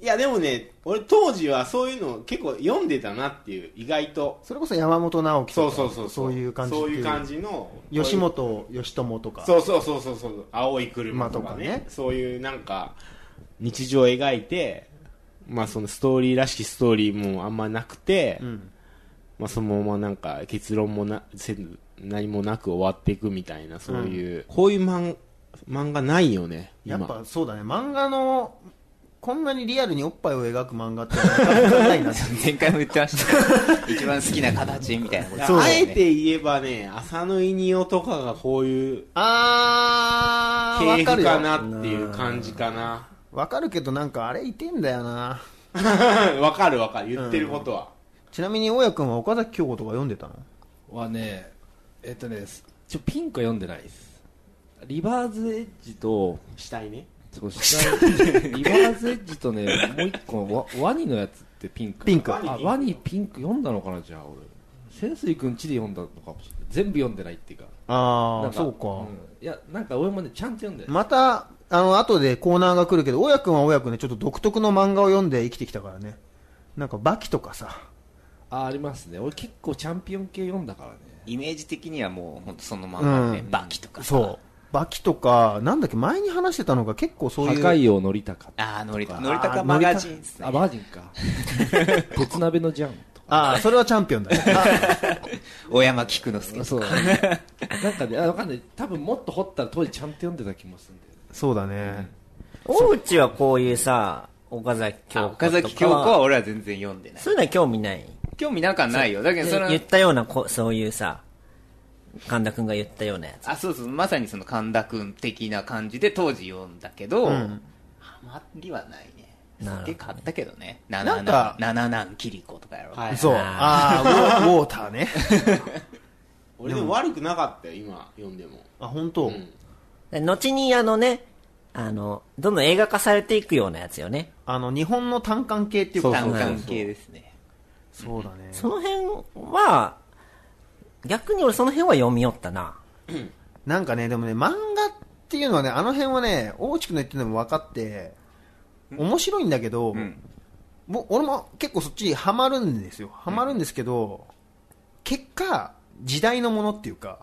Speaker 1: いや、でもね、俺当時はそういうの結構読んでたなっていう、意外と。
Speaker 2: それこそ山本直樹
Speaker 1: そ
Speaker 2: と
Speaker 1: う
Speaker 2: か、
Speaker 1: そうそう。
Speaker 2: そういう感じって
Speaker 1: そう
Speaker 2: い
Speaker 1: いう
Speaker 2: う
Speaker 1: 感じの。
Speaker 2: 吉本義朝とか、
Speaker 1: そうそうそうそうそう青い車とかね,、
Speaker 2: まあとかね
Speaker 1: そういうなんか日常を描いてまあそのストーリーらしきストーリーもあんまなくて、
Speaker 2: ん
Speaker 1: まあそのままなんか結論もなせず何もなく終わっていくみたいなそういう、こういう漫漫画ないよね
Speaker 2: や
Speaker 1: 今
Speaker 2: っぱそうだね、漫画の、こんなにリアルにおっぱいを描く漫画ってなかなかな いな
Speaker 4: 前回も言ってました。一番好きな形みたいなこと。
Speaker 1: あえて言えばね浅野いにおとかがこういう
Speaker 2: あー、
Speaker 1: 系
Speaker 2: わか
Speaker 1: 譜
Speaker 2: る
Speaker 1: か
Speaker 2: よ。
Speaker 1: なっていう感じかな
Speaker 2: わかるけど、なんかあれいてんだよな。
Speaker 1: わかるわかる言ってることは、
Speaker 2: ちなみに、大家くんは岡崎京子とか読んでたの
Speaker 7: はねえっとねすちょピンクは読んでないですリバーズエッジと
Speaker 1: したいね
Speaker 7: その下にリバーズエッジとねもう一個のワワニのやつってピンク
Speaker 2: ピンク
Speaker 7: あワニピンク読んだのかなじゃあ俺潜水君ちで読んだのかもしれない全部読んでないっていうか
Speaker 2: あ
Speaker 7: なん
Speaker 2: ー、そうか。
Speaker 7: んいやなんか俺もねちゃんと読んでない
Speaker 2: また、あの、後でコーナーが来るけど、親くんは親くんでちょっと独特の漫画を読んで生きてきたからね。なんか、バキとかさ。
Speaker 7: あありますね俺結構チャンピオン系読んだからね
Speaker 4: イメージ的にはもう本当そのままね
Speaker 2: う、ん
Speaker 4: バキとか。
Speaker 2: そう。。バキとか、なんだっけ、前に話してたのが結構そういう。
Speaker 7: 高いよ乗りたか
Speaker 4: ああ、のりた、のりたかマガジンですね
Speaker 7: あ。マージンか 鉄鍋のジャンとか
Speaker 2: ああ、それ はチャンピオンだね。あ
Speaker 4: 大山菊之助。
Speaker 7: そうだねなんかねあわかんない多分もっと掘ったら当時ちゃんと読んでた気もするんだよね
Speaker 2: そうだね。
Speaker 3: 大内はこういうさ、岡崎京子
Speaker 4: あ
Speaker 3: とか
Speaker 4: 岡崎京子は俺は全然読んでない
Speaker 3: そ。ういうのは興味ない。
Speaker 4: 興味なんかないよ。だけどそ
Speaker 3: 言
Speaker 4: の
Speaker 3: っ、たようなこ、そういうさ、神田くんが言ったようなやつ。
Speaker 4: あ、そうそう、まさにその神田くん的な感じで当時読んだけど、あまりはないね。
Speaker 3: なるほど
Speaker 4: で、買ったけどね。な
Speaker 2: な
Speaker 4: なんん
Speaker 2: か
Speaker 4: か、なななんキリコとかやろ。
Speaker 1: はい
Speaker 2: そう。ああ、ウォウォーター ね。
Speaker 1: 俺でも悪くなかったよ今読んでも
Speaker 2: あ、本当。
Speaker 1: ん
Speaker 3: で後にあのね、あの、どんどん映画化されていくようなやつよね。
Speaker 2: あの、日本の単管系っていうか、
Speaker 4: 単関系ですね。
Speaker 2: そうだね。
Speaker 3: その辺は、逆に俺その辺は読みよったな。
Speaker 2: なんかね、でもね、漫画っていうのはね、あの辺はね、大地君の言ってるのも分かって、面白いんだけど、も俺も結構そっちハマるんですよハマるんですけど、結果時代のものっていうか、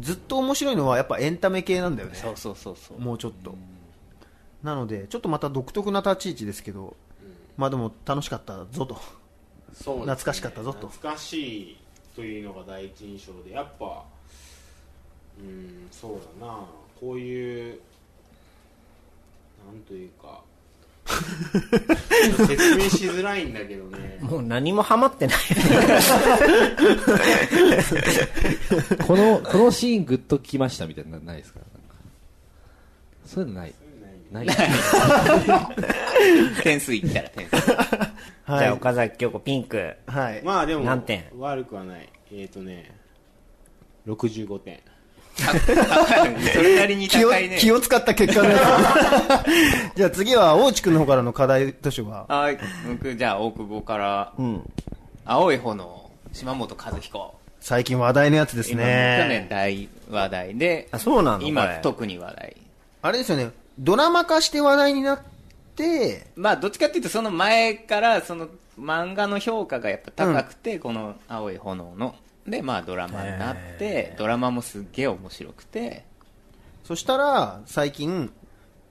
Speaker 2: ずっと面白いのはやっぱエンタメ系なんだよね
Speaker 4: そうそうそうそう
Speaker 2: もうちょっと、なのでちょっとまた独特な立ち位置ですけど、まあでも楽しかったぞと
Speaker 1: そうですね
Speaker 2: 懐かしかったぞと
Speaker 1: 懐かしいというのが第一印象でやっぱうんそうだなこういうなんというか 説明しづらいんだけどね
Speaker 3: もう何もハマってない。
Speaker 7: この、このシーングッときましたみたいなのないですかなんかそういうのない。ない。
Speaker 4: 点数いったら点数。
Speaker 2: はい
Speaker 3: じゃあ、岡崎京子ピンク。
Speaker 2: は い、
Speaker 1: まあでも
Speaker 3: 何点
Speaker 1: 悪くはないえっ、ー、とね65点
Speaker 4: それなりに
Speaker 2: 気を
Speaker 4: 高いね。
Speaker 2: 気を使った結果です じゃあ次は大地君の方からの課題図書は
Speaker 4: はい。僕、じゃあ、大久保から、
Speaker 3: うん。
Speaker 4: 青い炎、島本和彦。
Speaker 2: 最近話題のやつです
Speaker 4: 今、去年
Speaker 2: ね
Speaker 4: 大話題で、
Speaker 3: あ、そうなの
Speaker 4: 今
Speaker 3: これ、
Speaker 4: 特に話題。
Speaker 2: あれですよねドラマ化して話題になって
Speaker 4: まあ、どっちかっていうと、その前から、その、漫画の評価がやっぱ高くて、この青い炎の、で、まあ、ドラマになって、ドラマもすっげえ面白くて、
Speaker 2: そしたら最近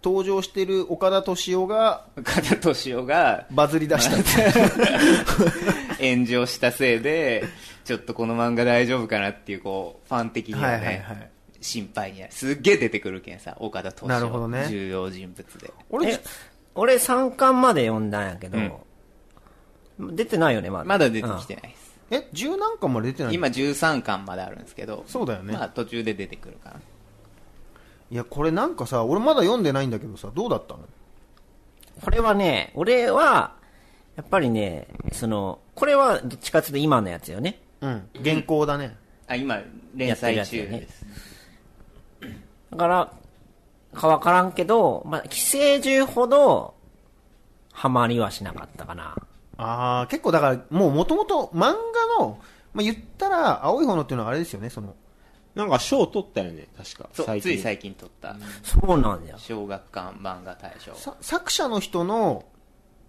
Speaker 2: 登場してる岡田敏夫が
Speaker 4: 岡田敏夫が、
Speaker 2: バズり出した
Speaker 4: 炎上したせいで、ちょっとこの漫画大丈夫かなっていう、こう、ファン的にはね、
Speaker 2: はいはいはい
Speaker 4: 心配になる。すっげえ出てくるけんさ、岡田斗
Speaker 2: な
Speaker 4: 司
Speaker 2: るほ
Speaker 4: 夫、
Speaker 2: どね
Speaker 4: 重要人物で。
Speaker 2: 俺
Speaker 3: え俺3巻まで読んだんやけど、出てないよね、まだ。
Speaker 4: まだ出てきて
Speaker 3: うん
Speaker 4: ないです。
Speaker 2: え十何巻まで出てない
Speaker 4: 今13巻まであるんですけど、
Speaker 2: そうだよね
Speaker 4: まあ途中で出てくるかな。
Speaker 2: いやこれなんかさ俺まだ読んでないんだけどさどうだったの
Speaker 3: これはね、俺は、やっぱりね、その、これはどっちかっていうと今のやつよね。
Speaker 2: うん原稿だね
Speaker 4: あ、今、連載中です。
Speaker 3: だから、かわからんけど、まあ、寄生獣ほど、ハマりはしなかったかな。
Speaker 2: ああ結構だからもうもともと漫画の、まあ、言ったら青い炎っていうのはあれですよねその
Speaker 1: なんか賞取ったよね確か
Speaker 4: そうつい最近撮った、
Speaker 3: そうなんだよ。
Speaker 4: 小学館漫画大賞
Speaker 2: さ作者の人の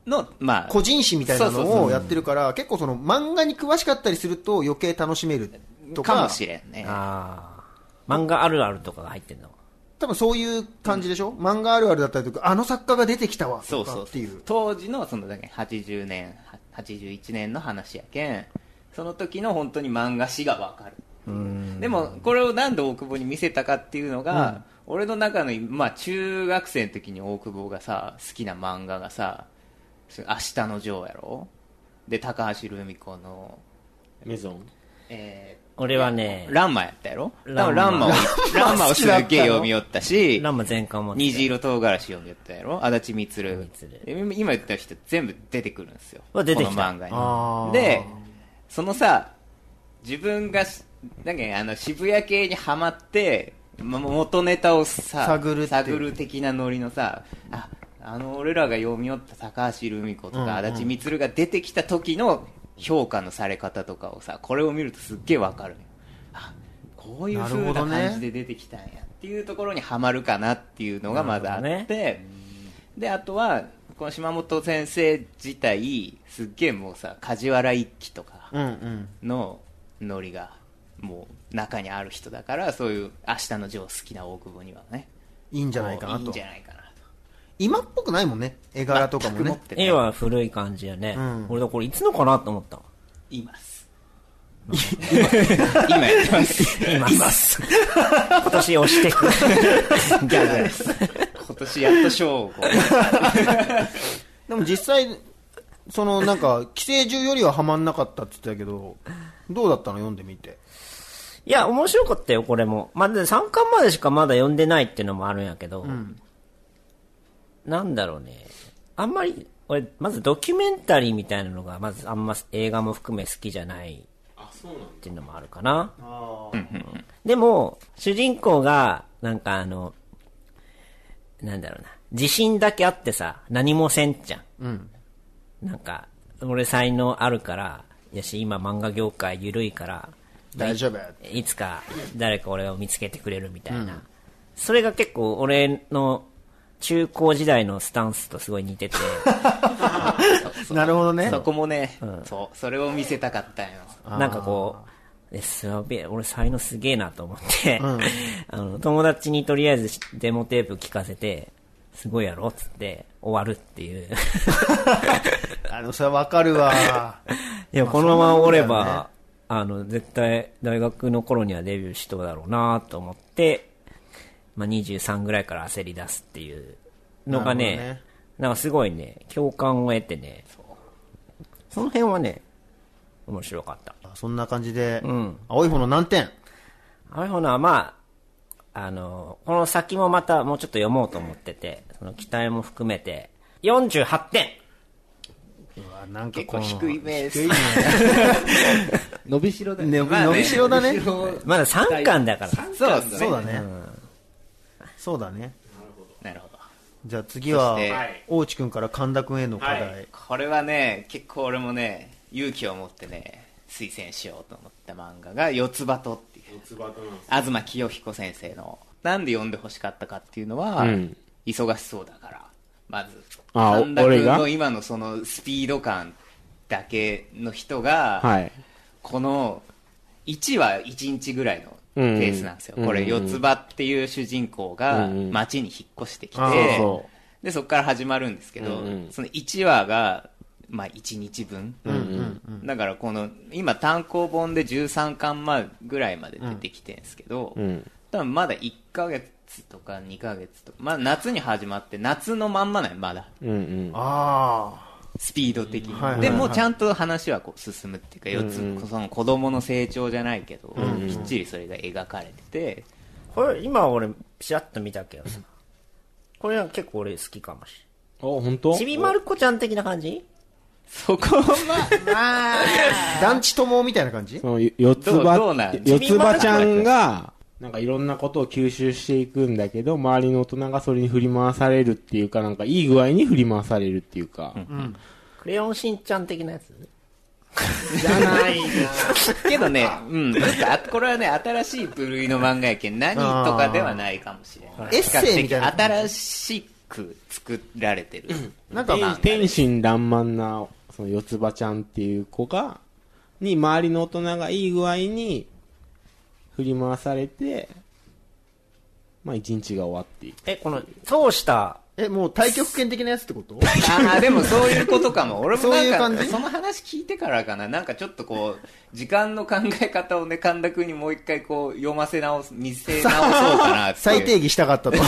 Speaker 4: の、まあ、
Speaker 2: 個人誌みたいな
Speaker 4: そうそう
Speaker 2: の
Speaker 4: そ
Speaker 2: を
Speaker 4: う
Speaker 2: やってるから結構その漫画に詳しかったりすると余計楽しめるとか
Speaker 4: かもしれんね。
Speaker 3: ああ。漫画あるあるとかが入ってんの。
Speaker 2: 多分そういう感じでしょ、漫画あるあるだったりとかあの作家が出てきたわと
Speaker 4: そうそ
Speaker 2: か
Speaker 4: う
Speaker 2: っていう
Speaker 4: 当時のそのだけ80年は81年の話やけんその時の本当に漫画史がわかるでもこれを何で大久保に見せたかっていうのが、俺の中の、まあ、中学生の時に大久保がさ好きな漫画がさ「それ明日のジョー」やろで高橋留美子の、
Speaker 1: メゾン
Speaker 4: え
Speaker 3: 俺は
Speaker 4: ー
Speaker 3: ね、
Speaker 4: ランマやったやろ
Speaker 3: ラ
Speaker 4: ラ
Speaker 3: ンマ
Speaker 4: ンランマをランマをすっげえ読み寄ったし
Speaker 3: ランマ全巻持ってた。
Speaker 4: 虹色唐辛子読んでたやろ足立満今言った人全部出てくるんですよ
Speaker 3: わ出てきた
Speaker 4: この漫
Speaker 2: あー
Speaker 4: 画にでそのさ自分がしなんかねあの渋谷系にはまってま元ネタをさ
Speaker 2: 探るっていう
Speaker 4: 探る的なノリのさああの俺らが読み寄った高橋留美子とか足立満が出てきた時の評価のされ方とかをさこれを見るとすっげえわかるのよあこういう風な感じで出てきたんやっていうところにはまるかなっていうのがまずあっ
Speaker 3: なるほ
Speaker 4: て、であとはこの島本先生自体すっげえもうさ梶原一騎とか
Speaker 2: うんうん
Speaker 4: のノリがもう中にある人だからそういう「明日のジョー」好きな大久保にはね
Speaker 2: いいんじゃないかなと
Speaker 4: いいんじゃないかな
Speaker 2: 今っぽくないもんね絵柄とかも
Speaker 4: 全く持
Speaker 2: ね
Speaker 4: ってない
Speaker 3: 絵は古い感じやね。
Speaker 2: ん
Speaker 3: 俺だ、これいつのかなと思った。
Speaker 4: います今やってます
Speaker 3: います。今年押してく。ギャグです。
Speaker 4: 今年やっと賞をこう
Speaker 2: でも実際そのなんか寄生獣よりはハマんなかったって言ってたけどどうだったの読んでみて
Speaker 3: いや、面白かったよ、これも。まあ、で3巻までしかまだ読んでないっていうのもあるんやけど、なんだろうね。あんまり、俺、まずドキュメンタリーみたいなのが、まずあんま映画も含め好きじゃない
Speaker 1: あそうなんだ
Speaker 3: っていうのもあるかな。でも、主人公が、なんかあの、なんだろうな、自信だけあってさ、何もせんじゃん。なんか、俺才能あるから、やし、今漫画業界緩いから、
Speaker 2: 大丈夫
Speaker 3: いつか誰か俺を見つけてくれるみたいな、それが結構俺の中高時代のスタンスとすごい似てて
Speaker 2: なるほどね。
Speaker 4: そこもね、そう、それを見せたかったんよ。
Speaker 3: なんかこう、えすべえ、俺才能すげえなと思って、 あの、友達にとりあえずしデモテープ聞かせて、すごいやろっつって終わるっていう。
Speaker 2: あの、それわかる わ。
Speaker 3: いや、このままおれば、
Speaker 2: そうなんだよね
Speaker 3: あの、絶対大学の頃にはデビューしとうだろうなと思って、まあ、23ぐらいから焦り出すっていうのが
Speaker 2: な
Speaker 3: ね、
Speaker 2: るほどね
Speaker 3: なんかすごいね、共感を得てね、その辺はね、面白かった。
Speaker 2: そんな感じで、
Speaker 3: ん
Speaker 2: 青い方の難点。
Speaker 3: あれほな、まあ、あの、この先もまたもうちょっと読もうと思ってて、その期待も含めて、48点
Speaker 2: うわなんか
Speaker 4: 結
Speaker 2: こ
Speaker 4: 構
Speaker 2: の
Speaker 4: 低い目です。
Speaker 7: 伸びしろだよ
Speaker 2: ね伸びしろだね。
Speaker 3: まだ3巻だから。
Speaker 4: そう
Speaker 2: そうだね。そうだね。
Speaker 4: なるほど。
Speaker 2: じゃあ次は
Speaker 4: そして、
Speaker 2: 大地君から神田君への課題。
Speaker 4: これはね、結構俺もね、勇気を持ってね、推薦しようと思った漫画が、四つ葉とっていう。東清彦先生の。なんで読んでほしかったかっていうのは、
Speaker 1: うん
Speaker 4: 忙しそうだから、まず。
Speaker 1: あ
Speaker 4: 神田君
Speaker 1: 俺が
Speaker 4: の今のそのスピード感だけの人が、
Speaker 1: はい。
Speaker 4: この1は1日ぐらいのペースなんですよ、
Speaker 1: うん
Speaker 4: こ
Speaker 1: う
Speaker 4: れ
Speaker 1: んうん
Speaker 4: 四つ葉っていう主人公が
Speaker 1: うんうん
Speaker 4: 町に引っ越してきて、
Speaker 2: あー
Speaker 1: そ
Speaker 4: でそこから始まるんですけど、
Speaker 1: うんうん
Speaker 4: その1話が、まあ、1日分、
Speaker 2: うんうんうん。
Speaker 4: だからこの今単行本で13巻まぐらいまで出てきてるんですけど、
Speaker 1: うん。
Speaker 4: 多分まだ1ヶ月とか2ヶ月とか、まあ、夏に始まって夏のまんまなんよまだ
Speaker 1: うんうん。
Speaker 2: あ
Speaker 4: スピード的に、
Speaker 2: はいはいはい
Speaker 4: でもうちゃんと話はこう進むっていうか、四つ
Speaker 1: うんうん
Speaker 4: その子供の成長じゃないけど、きっちりそれが描かれてて、
Speaker 3: これ、今俺、ピシャッと見たけどさ。これは結構俺好きかもし
Speaker 1: あ、ほん
Speaker 3: れ
Speaker 1: と
Speaker 3: ん。ちびまる子ちゃん的な感じ
Speaker 4: そこは、まあ、
Speaker 2: あ。団地友みたいな感じ
Speaker 1: その、よ四つ
Speaker 4: どうどうな
Speaker 1: 葉
Speaker 4: ん、
Speaker 1: 四つ葉ちゃんが、なんかいろんなことを吸収していくんだけど、周りの大人がそれに振り回されるっていうか、なんかいい具合に振り回されるっていうか。
Speaker 3: クレヨンしんちゃん的なやつ
Speaker 1: じゃないな
Speaker 4: けどね、うん、なんか、あこれはね、新しい部類の漫画やけん、何とかではないかもしれない。
Speaker 2: エッセイみたいな
Speaker 4: 比較的新しく作られてる。
Speaker 1: なんか、天真爛漫な、その四つ葉ちゃんっていう子が、に周りの大人がいい具合に振り回されて、まあ一日が終わっていく。
Speaker 3: え、この、通した、
Speaker 2: え、もう対極拳的なやつってこと
Speaker 4: ああ、でもそういうことかも。俺も
Speaker 2: そういう
Speaker 4: な
Speaker 2: 感
Speaker 4: んか、
Speaker 2: じ
Speaker 4: その話聞いてからかな。なんかちょっとこう、時間の考え方をね、神田君にもう一回こう、読ませ直す、見せ直そうかなっていう。
Speaker 2: 再定義したかった と。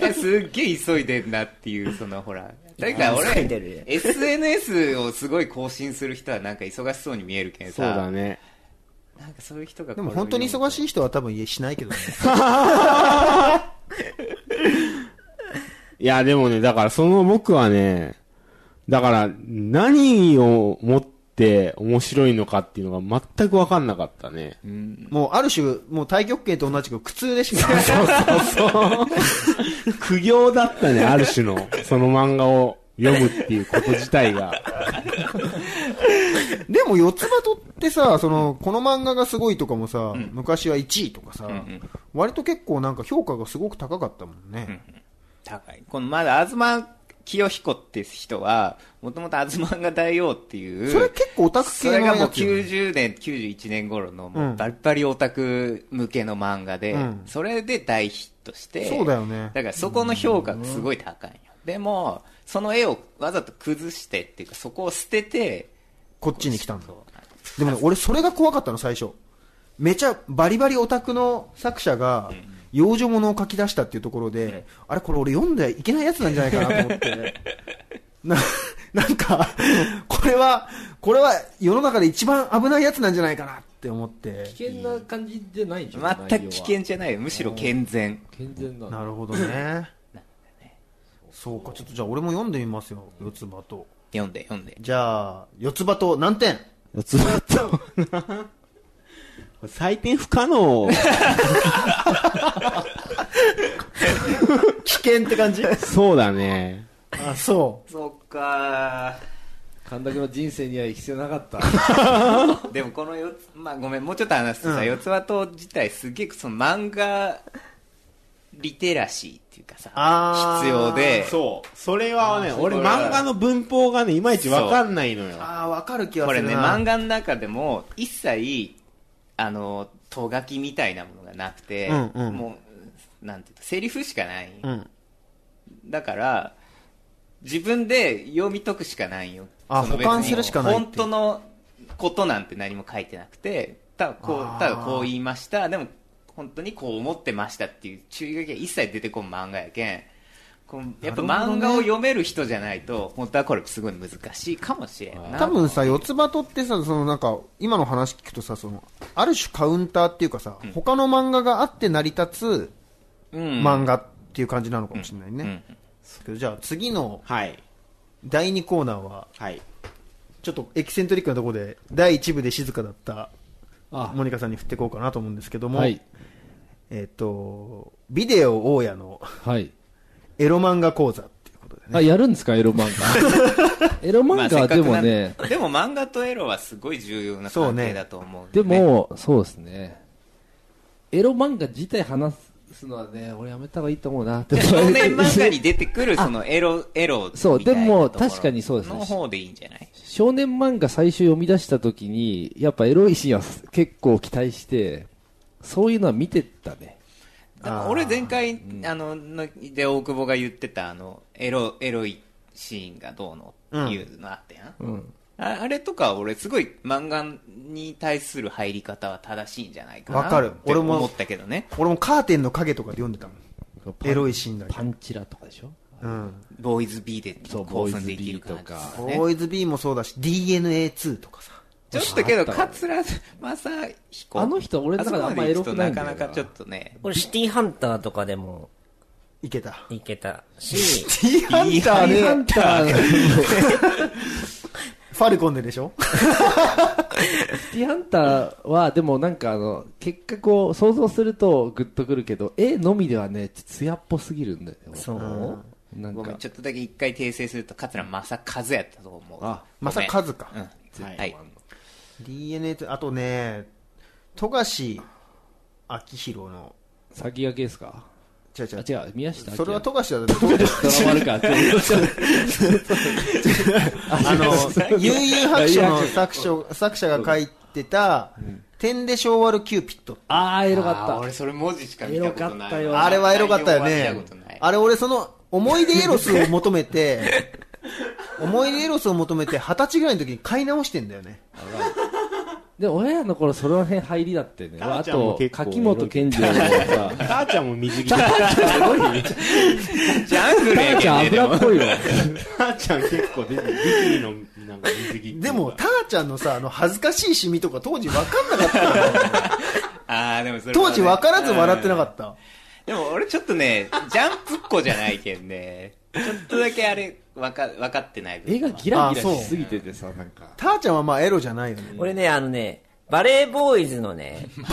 Speaker 4: え すっげえ急いでんなっていう、そのほら。だから
Speaker 3: 急
Speaker 4: 俺
Speaker 3: いでるね、
Speaker 4: SNS をすごい更新する人はなんか忙しそうに見えるけんさ。
Speaker 1: そうだね。
Speaker 4: なんかそういう人が
Speaker 2: でも本当に忙
Speaker 4: い。
Speaker 2: しい人は多分家しないけどね。
Speaker 1: いや、でもね、だからその僕はね、だから何を持って面白いのかっていうのが全くわかんなかったね。
Speaker 2: もうある種、もう対極拳と同じく苦痛でし かない。
Speaker 1: 苦行だったね、ある種の。 その漫画を読むっていうこと自体が。
Speaker 2: でも四つ葉とってさ、その、この漫画がすごいとかもさ、昔は1位とかさ、割と結構なんか評価がすごく高かったもんね。
Speaker 4: 高い。このまだ、東清彦って人は、もともと東が大王っていう。
Speaker 2: それ結構オタク
Speaker 4: そ
Speaker 2: 系の
Speaker 4: れがもう
Speaker 2: やつよね
Speaker 4: 90年、91年頃のもううんバリバリオタク向けの漫画で、
Speaker 2: うん
Speaker 4: それで大ヒットして、
Speaker 2: そうだよね
Speaker 4: だからそこの評価がすごい高いよ。でも、その絵をわざと崩してっていうか、そこを捨てて、
Speaker 2: こっちに来たんだ。
Speaker 4: そう
Speaker 2: でもね、俺それが怖かったの、最初。めちゃバリバリオタクの作者が、養女物を書き出したっていうところで、あれこれ俺読んでいけないやつなんじゃないかなと思 って。な、なんか、これは、これは世の中で一番危ないやつなんじゃないかなって思って。
Speaker 7: 危険な感じじゃないじゃん
Speaker 4: 全く危険じゃないよ。むしろ健全。
Speaker 7: 健全な
Speaker 2: なるほどね。そうか、ちょっとじゃあ俺も読んでみますよ、四つ葉と。
Speaker 4: 読んで、読んで。
Speaker 2: じゃあ、四つ葉と何点
Speaker 1: 四つ葉と、採点不可 能。
Speaker 2: 危険って感じ
Speaker 1: そうだね。
Speaker 2: あ、そ
Speaker 4: そっか
Speaker 7: 神田君の人生には必要なかった
Speaker 4: でもこの四つ、まあごめん、もうちょっと話すとさ、四つ葉と自体すげえその漫画リテラシーっていうかさ、
Speaker 2: あー
Speaker 4: 必要で、
Speaker 1: そう。それはね、俺
Speaker 4: これは
Speaker 1: 漫画の文法がね、いまいちわかんないのよ。
Speaker 2: ああ、わかる気が
Speaker 4: こ
Speaker 2: す
Speaker 4: れ
Speaker 2: るな。
Speaker 4: ね、漫画の中でも一切、あの、とがきみたいなものがなくて、
Speaker 2: うんうん
Speaker 4: もう、なんていうのセリフしかない。
Speaker 2: うん。
Speaker 4: だから、自分で読み解くしかないよ。
Speaker 2: あ
Speaker 4: その別に
Speaker 2: 保管するしかないっていう
Speaker 4: 本当のことなんて何も書いてなくて、ただこ
Speaker 2: あー
Speaker 4: う、ただこう言いました。でも、本当にこう思ってましたっていう注意書きが一切出てこん漫画やけん。こうやっぱ
Speaker 2: なるほど
Speaker 4: 漫
Speaker 2: ね
Speaker 4: 画を読める人じゃないと、本当はこれすごい難しいかもしれんな。
Speaker 2: 多分さ、四つ葉とってさ、そのなんか、今の話聞くとさ、その、ある種カウンターっていうかさ、他の漫画があって成り立つ
Speaker 4: うん、
Speaker 2: 漫画っていう感じなのかもしれないね。
Speaker 4: うん
Speaker 2: けどじゃあ次の
Speaker 1: はい。
Speaker 2: 第2コーナーは、
Speaker 1: はい。
Speaker 2: ちょっとエキセントリックなところで、第1部で静かだった
Speaker 7: あ
Speaker 2: モニカさんに振っていこうかなと思うんですけども、
Speaker 7: はい。
Speaker 2: えっ、と、ビデオ大家の
Speaker 7: はい。
Speaker 2: エロ漫画講座っていうことでね。
Speaker 7: あ、やるんですか、エロ漫 画。エロ
Speaker 4: ま
Speaker 7: 漫
Speaker 4: あ
Speaker 7: 画
Speaker 4: せっ
Speaker 7: は
Speaker 4: か
Speaker 7: で
Speaker 4: く
Speaker 7: も
Speaker 4: なん
Speaker 7: ね、
Speaker 4: でも漫画とエロはすごい重要な
Speaker 2: そう
Speaker 4: 関
Speaker 2: ね
Speaker 4: 係だと思う。
Speaker 7: で、も、そうですね。エロ漫画自体話すのはね、俺やめた方がいいと思うな。でも
Speaker 4: 少年漫画に出てくるそのエロ、エロみたいな
Speaker 7: そうでも
Speaker 4: ところ
Speaker 7: 確かにそうですね
Speaker 4: の方でいいんじゃない
Speaker 7: 少年漫画最初読み出した時に、やっぱエロいシーンは結構期待して、そういうのは見てたね。
Speaker 4: だから俺前回、あの、ので大久保が言ってたあの、エロ、エロいシーンがどうのっていうのあったやん。
Speaker 7: うん。
Speaker 4: ああれとか俺すごい漫画に対する入り方は正しいんじゃないか
Speaker 2: わか
Speaker 4: な
Speaker 2: る
Speaker 4: って
Speaker 2: 俺も
Speaker 4: 思ったけどね。
Speaker 2: 俺もカーテンの影とかで読んでたもん。エロいシーンだけ
Speaker 7: パンチラとかでしょ
Speaker 2: うん。
Speaker 4: ボーイズ B で
Speaker 7: そう
Speaker 4: 興奮できる
Speaker 7: ボー
Speaker 4: 感じと
Speaker 7: イズ B とか
Speaker 4: か、ね。
Speaker 2: ボーイズ B もそうだし、DNA2 とかさ。
Speaker 4: ちょっとけど、桂正彦。
Speaker 7: あの人俺の中であんまエロくないんだ
Speaker 4: あそこ
Speaker 7: よな
Speaker 4: まで行くとなかなかちょっとね、
Speaker 3: 俺シティハンターとかでも
Speaker 2: いけた。
Speaker 3: いけたし、
Speaker 2: T ハンターね。ハンター。ファルコンででしょ
Speaker 7: シティハンターは、でもなんかあの、結果こう、想像するとグッとくるけど、絵のみではね、艶っぽすぎるんだよ。
Speaker 3: そう
Speaker 7: なん
Speaker 4: ごめ
Speaker 7: か
Speaker 4: ん、、ちょっとだけ一回訂正すると、桂正和やったと思う。
Speaker 7: あ
Speaker 4: ごめん
Speaker 2: 正和か
Speaker 4: うん。
Speaker 1: はい
Speaker 4: はい。
Speaker 2: DNA2、あとね、富樫明宏の、
Speaker 7: 先駆けですか
Speaker 2: 違う違
Speaker 7: あ
Speaker 2: う、
Speaker 7: 違う、宮下。
Speaker 2: それは
Speaker 7: と、
Speaker 2: 富樫だと思う
Speaker 7: 捕まるか。
Speaker 2: あの、悠々白書の作者作者が書いてた、点で昭和のキューピット。
Speaker 7: あー、エロ
Speaker 4: あー
Speaker 7: か
Speaker 4: 俺
Speaker 7: っ
Speaker 4: それ文字しか見たことない。
Speaker 7: エロかったよ
Speaker 2: あれはエロかったよ
Speaker 4: 内
Speaker 2: ね
Speaker 4: 容は見たことない。
Speaker 2: あれ俺その、思い出エロスを求めて、 思い出エロスを求めて、二十歳ぐらいの時に買い直してんだよね。
Speaker 7: た。で、俺らの頃、その辺入りだってね。
Speaker 1: 母
Speaker 7: あ
Speaker 1: ちゃんも
Speaker 7: と、
Speaker 1: 結構
Speaker 7: 柿本健二郎のさ、
Speaker 1: 母ちゃんも水着だ。
Speaker 4: ジャングルや
Speaker 7: 母
Speaker 4: け
Speaker 7: ちゃ
Speaker 4: ど
Speaker 7: ん
Speaker 4: ね。で
Speaker 7: 油
Speaker 4: も
Speaker 7: っぽいわ。
Speaker 1: 母ちゃん結構出てる。ビキニのなんか水着っていうか
Speaker 2: でも、ターちゃんのさ、あの、恥ずかしいシミとか当時わかんなかったから。
Speaker 4: あーでもそれも
Speaker 2: 当
Speaker 4: ね
Speaker 2: 時分からず笑ってなかった。
Speaker 4: でも俺ちょっとね、ジャンプっ子じゃないけんね。ちょっとだけあれ、わか、わかってない部分
Speaker 7: 絵がギラギラしすぎててさ、なんか。
Speaker 2: ターちゃんはまあエロじゃないよね。
Speaker 3: 俺ね、あのね、バレーボーイズの ね、
Speaker 4: もう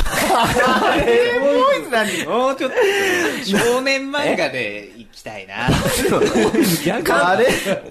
Speaker 4: ちょっと、少年漫画で行きたいな。
Speaker 2: あれ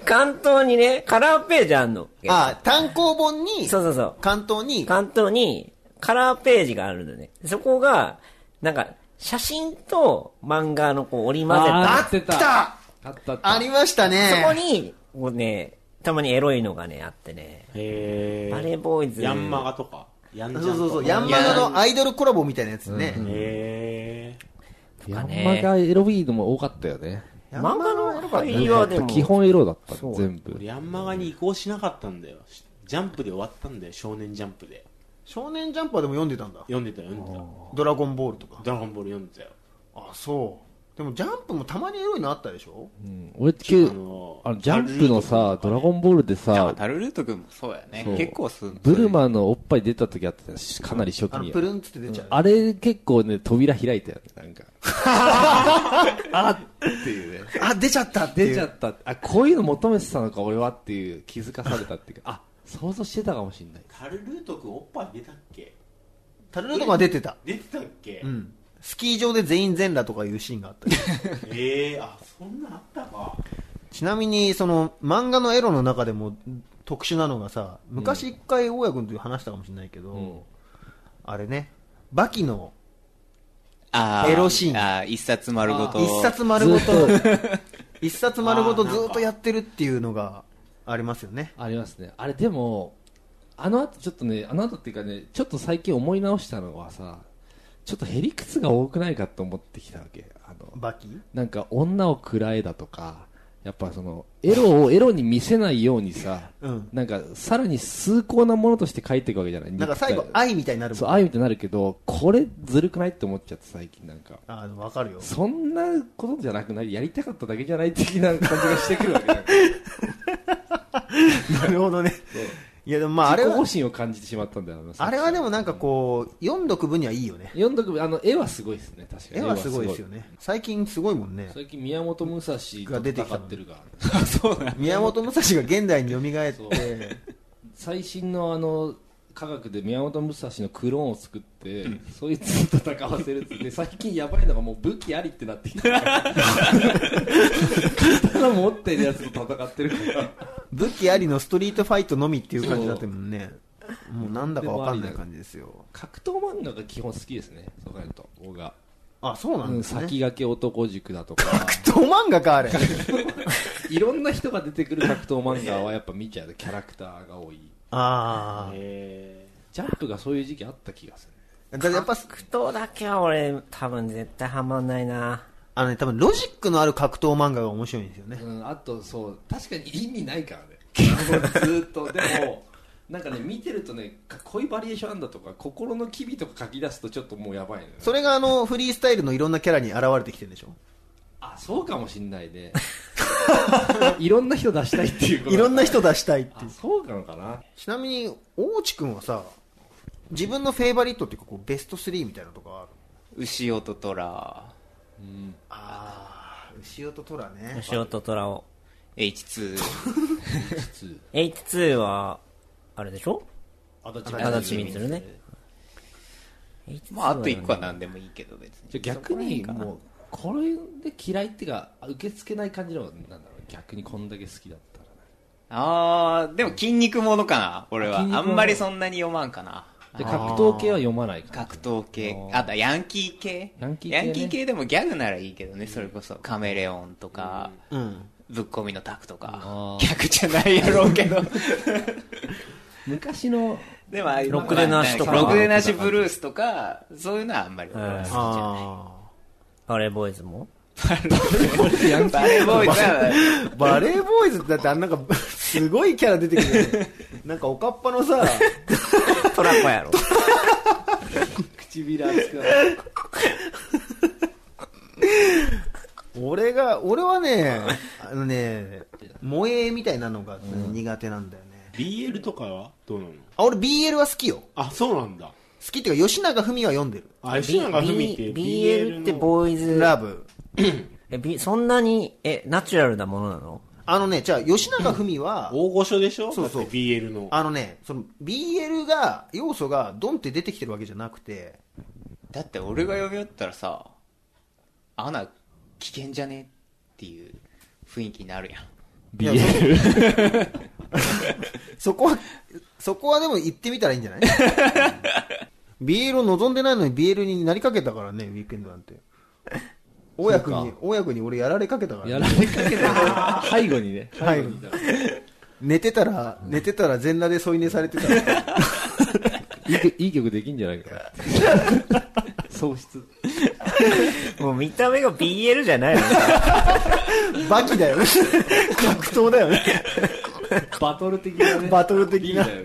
Speaker 3: 関東にね、カラーページあんの。
Speaker 2: あ、単行本に、
Speaker 3: そうそうそう。
Speaker 2: 関東に、
Speaker 3: 関東にカラーページがあるのね。そこが、なんか、写真と漫画のこう織り交ぜ
Speaker 7: あ
Speaker 3: た。
Speaker 7: ーってた
Speaker 2: た
Speaker 7: あったあった
Speaker 2: ありましたね。
Speaker 3: そこに、こうね、たまにエロいのがね、あってね。
Speaker 1: へ
Speaker 3: バレー
Speaker 1: ー。
Speaker 3: ボーイズ。
Speaker 1: ヤンマガとか。ヤンジャン
Speaker 2: そうそうそう、ヤ
Speaker 1: ヤン
Speaker 2: ンマガのアイドルコラボみたいなやつね。
Speaker 1: へ
Speaker 7: ヤ
Speaker 3: かね
Speaker 7: ンマがエロビードも多かったよね。
Speaker 2: ヤンマガの
Speaker 3: 入りはでも、
Speaker 7: 基本エロだった
Speaker 3: そ
Speaker 7: の
Speaker 3: う
Speaker 7: 全
Speaker 1: ー。
Speaker 7: 部
Speaker 1: 俺。ヤンマガに移行しなかったんだよ。ジャンプで終わったんだよ。少年ジャンプで。
Speaker 2: 少年ジャンパーでも読んでたんだ。
Speaker 1: 読んでたよ読んでた。
Speaker 2: ドラゴンボールとか。
Speaker 1: ドラゴンボール読んでたよ。
Speaker 2: あ、そう。でもジャンプもたまにエロいのあったでしょ
Speaker 7: うん俺って
Speaker 1: あの
Speaker 7: あの、ジャンプのさ、ドラゴンボールでさ、
Speaker 4: タルルート君もそうやね
Speaker 7: そう。
Speaker 4: 結構すん
Speaker 7: ブルマのおっぱい出た時あったし、かなり初期
Speaker 2: あの、
Speaker 7: に
Speaker 2: プ。ルンつって出ちゃう。
Speaker 7: あれ結構ね、扉開いたよね、なんか。
Speaker 2: あ、出ちゃったっていう。
Speaker 7: 出ちゃった。あ、こういうの求めてたのか、俺はっていう気づかされたっていうか、あ、想像してたかもしんない。
Speaker 1: タルルート君おっぱい出たっけ
Speaker 2: タルルとか出てた。
Speaker 1: 出てたっけ
Speaker 2: うん。スキー場で全員全裸とかいうシーンがあったり。
Speaker 1: ええー、あ、そんなあったか。
Speaker 2: ちなみに、その、漫画のエロの中でも特殊なのがさ、昔一回大家君と話したかもしれないけど、あれね、バキの
Speaker 4: あ
Speaker 2: エロシーン
Speaker 4: あ一冊丸ごと。
Speaker 2: 一冊丸ごと、 一冊丸ごとずっとやってるっていうのがありますよね。
Speaker 7: ありますねあれでもあの後ちょっとねあの後っていうかねちょっと最近思い直したのはさちょっとへりくつが多くないかと思ってきたわけあの
Speaker 2: バキ
Speaker 7: なんか女を喰らえだとかやっぱそのエロ をエロに見せないようにさ、
Speaker 2: うん
Speaker 7: なんかさらに崇高なものとして書いていくわけじゃない
Speaker 2: なんか最後
Speaker 7: 肉体
Speaker 2: 愛みたいになるもん
Speaker 7: そう愛みたいになるけどこれずるくないって思っちゃって最近なんか
Speaker 2: あの、わかるよ。
Speaker 7: そんなことじゃなくないやりたかっただけじゃない的な感じがしてくるわけなんか
Speaker 2: なるほどね。いやでも まああれ
Speaker 7: 自己保
Speaker 2: は、
Speaker 7: 身を感じてしまったんだよ
Speaker 2: あれはでもなん
Speaker 7: か
Speaker 2: かこう、読んどく分にはいいよね。
Speaker 7: 読んどくあの絵はすごいですね確かに
Speaker 2: 絵はすごいですよね。最近すごいもんね。
Speaker 7: 最近宮本武蔵が出てきってるが
Speaker 2: 宮本武蔵が現代に蘇って、
Speaker 7: 最新のあの科学で宮本武蔵のクローンを作って、そいつと戦わせるっ つって最近やばいのがもう武器ありってなってきた刀持ってるやつと戦ってるから
Speaker 2: 武器ありのストリートファイトのみっていう感じだったもんね。もうなんだかわかんない感じですよ。
Speaker 7: 格闘漫画が基本好きですねそう考えると僕が、
Speaker 2: あ、そうな
Speaker 7: うんん、
Speaker 2: ですね。
Speaker 7: 先駆け男塾だとか
Speaker 2: ど漫画か、あれ。
Speaker 7: いろんな人が出てくる格闘漫画はやっぱ見ちゃうキャラクターが多い
Speaker 2: あ
Speaker 1: え
Speaker 7: ジャンプがそういう時期あった気がする
Speaker 2: あ。だからやっぱ、
Speaker 3: 格闘だけは俺、多分絶対ハマんないな。
Speaker 2: あのね、多分ロジックのある格闘漫画が面白いんですよね。
Speaker 7: うん、あとそう確かに意味ないからね あのずーっとでもなんかね見てるとねかこういうバリエーションあんだとか心の機微とか書き出すとちょっともうやばいのよ
Speaker 2: それがあの、フリースタイルのいろんなキャラに現れてきてるんでしょ
Speaker 7: あそうかもしんない ねいろんな人出したいっていうこと
Speaker 2: いろんな人出したいってい
Speaker 7: あ
Speaker 2: う。
Speaker 7: そうなのかな
Speaker 2: ちなみに、大地君はさ、自分のフェイバリットっていうか、こう、ベスト3みたいなとかある
Speaker 4: 牛音虎、
Speaker 2: ああ、牛尾と虎ね。
Speaker 3: 吉音虎を。
Speaker 4: H2、
Speaker 3: H2 は、あれでしょ
Speaker 7: あだち
Speaker 3: 足立みつるね。H2
Speaker 4: まあ、あと1個は
Speaker 3: はね
Speaker 4: 何でもいいけど、別に。
Speaker 7: じゃあ逆にもうこれで嫌いっていうか受け付けない感じのなんだろう逆にこんだけ好きだったらね
Speaker 4: あー、でも筋肉ものかな、俺は。
Speaker 7: 筋肉も
Speaker 4: あ
Speaker 7: の
Speaker 4: んまりそんなに読まんかな。
Speaker 7: で格闘系は読まないから
Speaker 4: 格闘系
Speaker 7: あ。ー
Speaker 4: あと、ヤンキー系
Speaker 7: ヤンキー系ね
Speaker 4: 系でもギャグならいいけどね、それこそ。カメレオンとか、
Speaker 2: うん。
Speaker 4: ぶっこみのタクとか
Speaker 7: あ。ー
Speaker 4: 逆じゃないやろうけど。
Speaker 7: 昔の
Speaker 4: でもああいう、
Speaker 3: ろくでなしとか
Speaker 4: ろくでなしブルースとか、そういうのはあんまり。
Speaker 3: うん
Speaker 2: あ
Speaker 3: バレーボーイズも
Speaker 4: ヤンキーバレーボーイズは、
Speaker 2: あ。バレーボーイズってだってあんなんか、すごいキャラ出てくるよ ね。なんか、おかっぱのさ、
Speaker 3: トラコや ろ。
Speaker 7: 唇熱くなる
Speaker 2: 俺が、俺はね、あのね、萌えみたいなのが苦手なんだよね。
Speaker 1: ー、BL とかはどうなの
Speaker 2: あ、俺 BL は好きよ。好
Speaker 1: あ、そうなんだ。
Speaker 2: きっていうか、吉永文は読んでる。
Speaker 1: あ、吉永文って
Speaker 3: B- BL って
Speaker 1: の
Speaker 3: ボーイズ。
Speaker 2: ラブ。
Speaker 3: え、B、そんなに、え、ナチュラルなものなの
Speaker 2: あのね、じゃあ、吉永文は、
Speaker 1: 大御所でしょ
Speaker 2: そうそう
Speaker 1: だって BL の。
Speaker 2: あのね、その BL が、要素がドンって出てきてるわけじゃなくて、
Speaker 4: だって俺が読み寄ったらさ、アナ、危険じゃねっていう雰囲気になるやん。
Speaker 2: BL? そこは、そこはでも言ってみたらいいんじゃない BL を望んでないのに BL になりかけたからね、ウィークエンドなんて。大家君に、大家君に俺やられかけたから、ね。
Speaker 7: やられかけ た背後にね
Speaker 2: 背後に寝てたら、寝てたら全裸で添い寝されてたら。
Speaker 7: いい曲いい曲できんじゃないかな 喪失
Speaker 3: もう見た目が BL じゃないの
Speaker 2: バキだよね。格闘だよね。
Speaker 7: バトル的なね
Speaker 2: バトル的な
Speaker 7: リーダーよ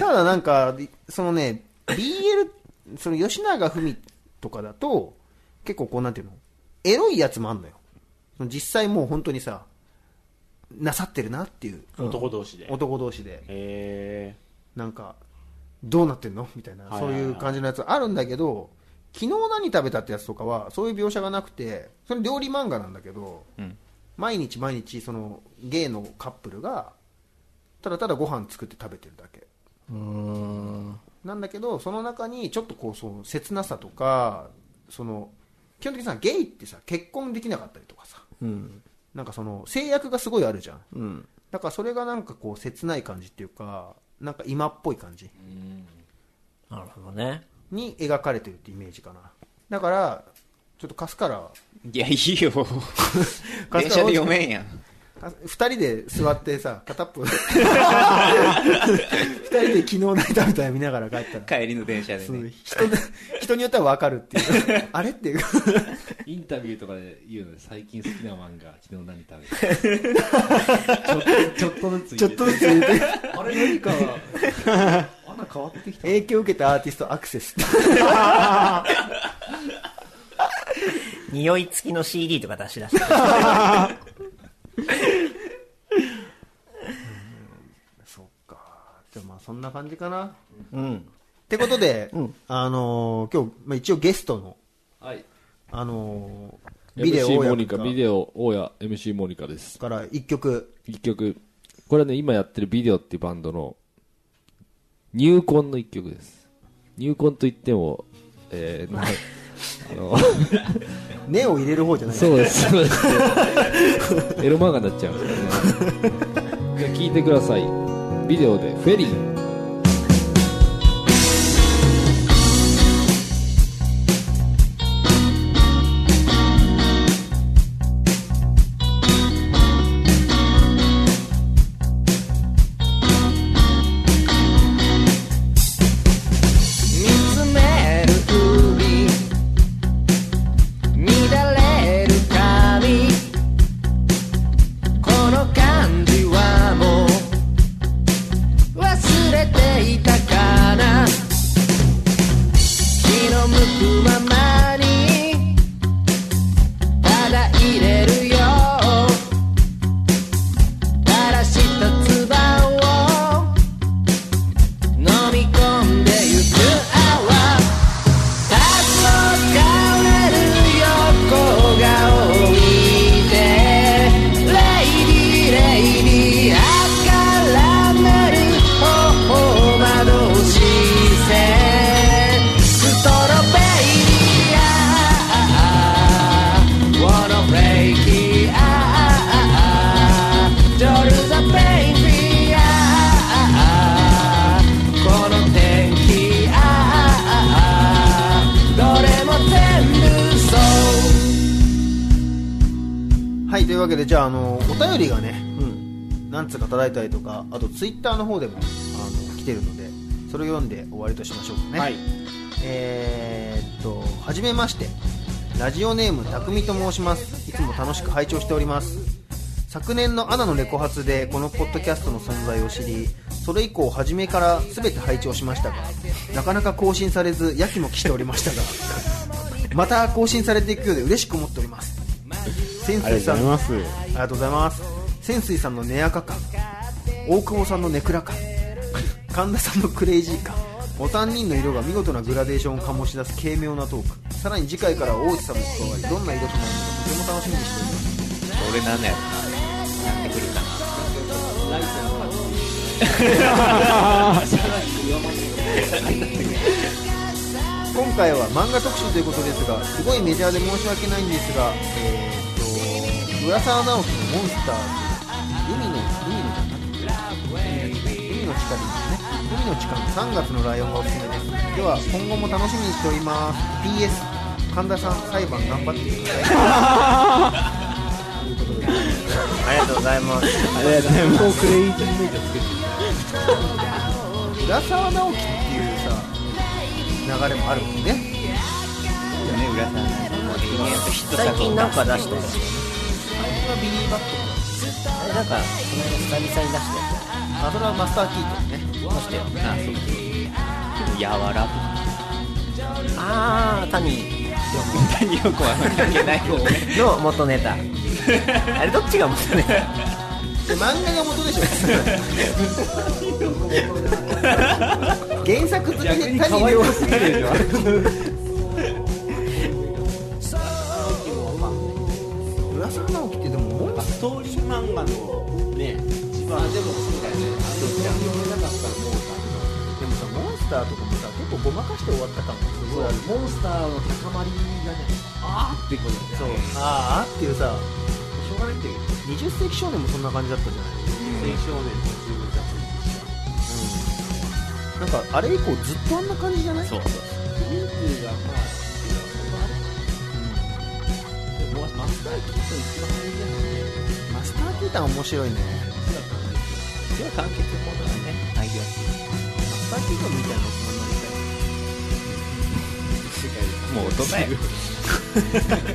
Speaker 2: ただなんか、そのね、BL、その吉永文とかだと、結構こうなんていうの、エロいやつもあんのよ。その実際もう本当にさ、なさってるなっていう、
Speaker 1: 男同士で。
Speaker 2: 男同士で。
Speaker 1: え
Speaker 2: なんか、どうなってんのみたいな、
Speaker 1: はい
Speaker 2: そ
Speaker 1: は
Speaker 2: う
Speaker 1: いはい
Speaker 2: いう感じのやつあるんだけど、昨日何食べたってやつとかは、そういう描写がなくて、それ料理漫画なんだけど、
Speaker 4: うん
Speaker 2: 毎日毎日、その、ゲイのカップルが、ただただご飯作って食べてるだけ。なんだけど、その中に、ちょっとこう、その、切なさとか、その、基本的にさ、ゲイってさ、結婚できなかったりとかさ、
Speaker 3: うん。
Speaker 2: なんかその、制約がすごいあるじゃん。
Speaker 3: うん。
Speaker 2: だからそれがなんかこう、切ない感じっていうか、なんか今っぽい感じ。
Speaker 3: なるほどね。
Speaker 2: に描かれてるってイメージかなだから、ちょっと貸すから、
Speaker 4: いや、いいよ。電車で読めんやん。
Speaker 2: か二人で座ってさ、片っぽ。二人で昨日の歌みたい見ながら帰ったら。
Speaker 4: 帰りの電車で
Speaker 2: そう
Speaker 4: ね。
Speaker 2: 人で人によっては分かるっていう。あれっていう。
Speaker 7: インタビューとかで言うので最近好きな漫画昨日何食べ たちょっとちょっとずつ
Speaker 2: ちょっとずつ入れて
Speaker 7: あれ何かあな変わってきた
Speaker 2: 影響を受けたアーティストアクセス。
Speaker 3: 匂い付きの CD とか出し出した。
Speaker 2: そっか。じゃあまあそんな感じかな。っ
Speaker 3: うん。
Speaker 2: てことで、あのー今日、まあ、一応ゲストの、
Speaker 7: はい
Speaker 2: あのービデオ
Speaker 9: MC モ
Speaker 2: を
Speaker 9: ニカ、ビデオ、大家、MC モニカです。
Speaker 2: から一曲。
Speaker 9: 一曲。これはね、今やってるビデオっていうバンドの、入魂の一曲です。入魂といっても、 えー、なあ
Speaker 2: 根を入れる方じゃ
Speaker 9: の、
Speaker 2: ない
Speaker 9: そうです、そう です。エロ漫画になっちゃうんですけどね。じゃあ聞いてください。ビデオで、フェリー。
Speaker 8: 見つめる海乱れる髪この感じはもう忘れていたかな気の向くままにただ入れるよ垂らした唾を飲み込んでゆく泡黄昏る横顔見てレイディレイディあからめる頬窓視線ストロベイディアワノブレイキアドルザペインフィアこの天気ああああどれも全部そう
Speaker 2: はい、というわけで、じゃあ、あのーお便りがね、何つうか叩いたりとか、あとツイッターの方でも、あの来てるので、それを読んで終わりとしましょうかね。
Speaker 1: はい。
Speaker 2: えーっと、はじめまして。ラジオネーム、たくみと申します。いつも楽しく拝聴しております。昨年のアナのレコ発でこのポッドキャストの存在を知り、それ以降初めから全て拝聴しましたが、なかなか更新されず、やきもきしておりましたが、また更新されていくようで嬉しく思っております。先
Speaker 1: あり
Speaker 2: 生
Speaker 1: がと
Speaker 2: さ
Speaker 1: うござ
Speaker 2: ん
Speaker 1: います。
Speaker 2: ありがとうございます泉水さんのネアカ感大久保さんのネクラ感 神田さんのクレイジー感お三人の色が見事なグラデーションを醸し出す軽妙なトークさらに次回から大内さんも加わりどんな色となるのかとても楽しみにしております
Speaker 4: 俺なんだよな。やってくるか
Speaker 2: 今回は漫画特集ということですがすごいメジャーで申し訳ないんですがえー、っと浦沢直樹の「モンスターズ」海の海の海の力ですね海の力3月のライオンがおすすめですでは今後も楽しみにしております PS 神田さん裁判頑張ってください
Speaker 3: ありがとうございます。
Speaker 1: ありがとうございます。
Speaker 2: 浦沢直樹っていうさ流れもあるもんね
Speaker 4: らね、浦さん。ヒット
Speaker 3: 最
Speaker 4: 作
Speaker 3: 近
Speaker 4: を
Speaker 3: なんか出したよ。あれはビリーバットあれなんか、この間久々に出したや
Speaker 2: あそれはマスター・キートンね
Speaker 4: 出したよな。そうそうやわら
Speaker 3: つ。あー、谷
Speaker 4: と。よくは関係ないよね。
Speaker 3: の元 ネタ。あれどっちが元ネタ
Speaker 2: で漫画が元でしょ原作として谷亮さん浦沢直樹ってでもモンス
Speaker 1: ストーリー漫画のね、一番でもそうだよね。
Speaker 2: でもさモンスターとかもさ結構ごまかして終わった感もすごいある
Speaker 7: モンスターの高まりがねあーってことです
Speaker 2: そうあーあーっていうさしょうがないって20世紀少年もそんな感じだったじゃない20世紀少年も十分雑誌でしたなんかあれ以降ずっとあんな感じじゃないそうそう人数がまあマスターキータンマスターキータン面白いね
Speaker 4: では完結コーナーねアイデアス
Speaker 2: マスターキータンみたいな
Speaker 4: もう大人や
Speaker 2: 大人に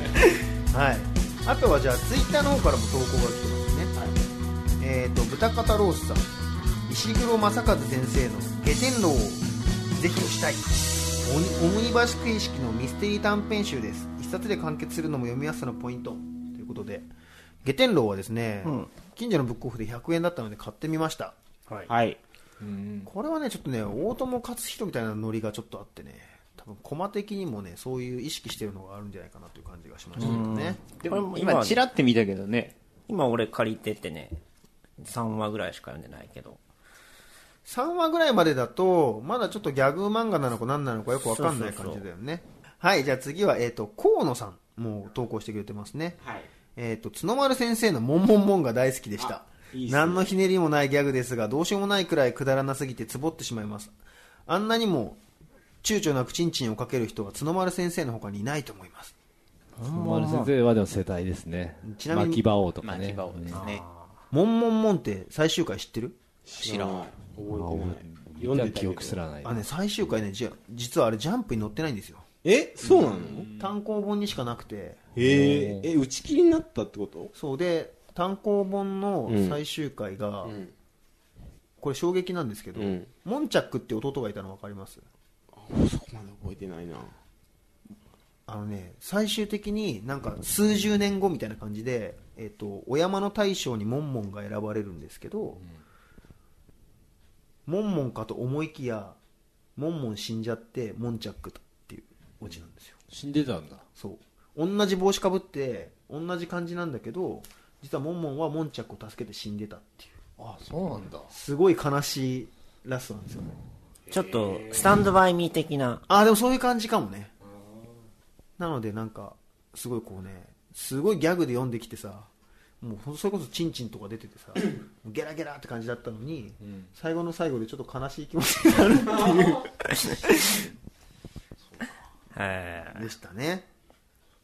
Speaker 2: なりたいはいあとはじゃあツイッターの方からも投稿が来てますね、えっ、と豚肩ロースさん石黒正和先生の「下天狼」をぜひ推したいオニオムニバス形式のミステリー短編集です一冊で完結するのも読みやすさのポイントということで下天狼はですね、近所のブックオフで100円だったので買ってみました
Speaker 1: はい。
Speaker 2: これはね、ちょっとね、大友克洋みたいなノリがちょっとあってね、多分コマ的にもね、そういう意識してるのがあるんじゃないかなという感じがしましたけどね。
Speaker 4: で
Speaker 3: これも
Speaker 4: も
Speaker 3: 今
Speaker 4: 今チラって見たけどね
Speaker 3: 今俺借りててね、3話ぐらいしか読んでないけど。
Speaker 2: 3話ぐらいまでだと、まだちょっとギャグ漫画なのか何なのかよくわかんない感じだよね。はい、じゃあ次は、えっ、と、河野さん、もう投稿してくれてますね。
Speaker 1: はい。
Speaker 2: えっ、と、角丸先生のモンモンモンが大好きでした。
Speaker 1: いいっすね
Speaker 2: 何のひねりもないギャグですが、どうしようもないくらいくだらなすぎてつぼってしまいます。あんなにも、躊躇なくチンチンをかける人は角丸先生の他にいないと思います。
Speaker 9: 丸先生はでも世代ですね。
Speaker 2: ちなみに
Speaker 9: 巻き場王と
Speaker 4: ま
Speaker 9: か
Speaker 4: あ
Speaker 9: ね。
Speaker 4: 牙をですね
Speaker 2: モンモンモンって最終回知ってる
Speaker 1: 知らない。覚えてない。
Speaker 9: 読
Speaker 1: 読
Speaker 9: ん
Speaker 1: ん
Speaker 9: だ
Speaker 1: でた
Speaker 9: 記
Speaker 1: けど
Speaker 9: 憶すらない。
Speaker 2: あね最終回ねじゃ実はあれジャンプに載ってないんですよ
Speaker 1: え、そうなの
Speaker 2: 単行本にしかなくて
Speaker 1: へえ、え、打ち切りになったってこと
Speaker 2: そうで単行本の最終回が、
Speaker 1: ん
Speaker 2: これ衝撃なんですけど、
Speaker 1: うん
Speaker 2: モンチャックって弟がいたの分かります
Speaker 1: そこまで覚えてないな。
Speaker 2: あのね最終的になんか数十年後みたいな感じで、えっとお山の大将にモンモンが選ばれるんですけど、モンモンかと思いきやモンモン死んじゃってモンチャックっていうオチなんですよ
Speaker 9: 死んでたんだ。
Speaker 2: そう同じ帽子かぶって同じ感じなんだけど実はモンモンはモンチャックを助けて死んでたっていう
Speaker 9: あ、そうなんだ。
Speaker 2: すごい悲しいラストなんですよね
Speaker 3: ちょっと、スタンドバイミー的な。
Speaker 2: ああでもそういう感じかもねなのでなんかすごいこうねすごいギャグで読んできてさもうほんそれこそチンチンとか出て てさもうゲラゲラって感じだったのに、最後の最後でちょっと悲しい気持ちになる
Speaker 3: え
Speaker 2: でしたね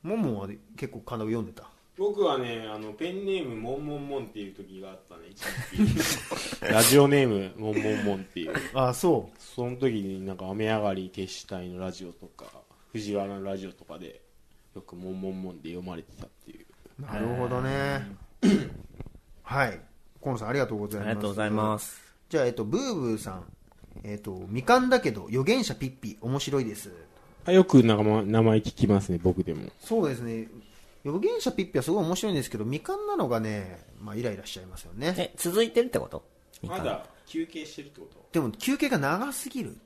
Speaker 2: モンモンは結構かなり読んでた
Speaker 1: 僕はね、あの、ペンネーム、モンモンモンっていう時があったね、一時期 ラジオネーム、モンモンモンっていう。
Speaker 2: ああそう
Speaker 1: その時になんか雨上がり決死隊のラジオとか、藤原のラジオとかで、よくモンモンモンで読まれてたっていう。
Speaker 2: なるほどね。はい。河野さん、ありがとうござい
Speaker 3: ー、あ
Speaker 2: ます。。
Speaker 3: りがとうございますす。
Speaker 2: じゃあ、えっと、ブーブーさん。えっと、みかんだけど、予言者ピッピ、面白いです。
Speaker 1: あよくなんかま名前聞きますね、僕でも。
Speaker 2: そうですね。予言者ピッピはすごい面白いんですけど、みかんなのがね、まあ、イライラしちゃいますよね。
Speaker 3: え、続いてるってことみかん
Speaker 1: 休憩してるってこと
Speaker 2: でも、休憩が長すぎる。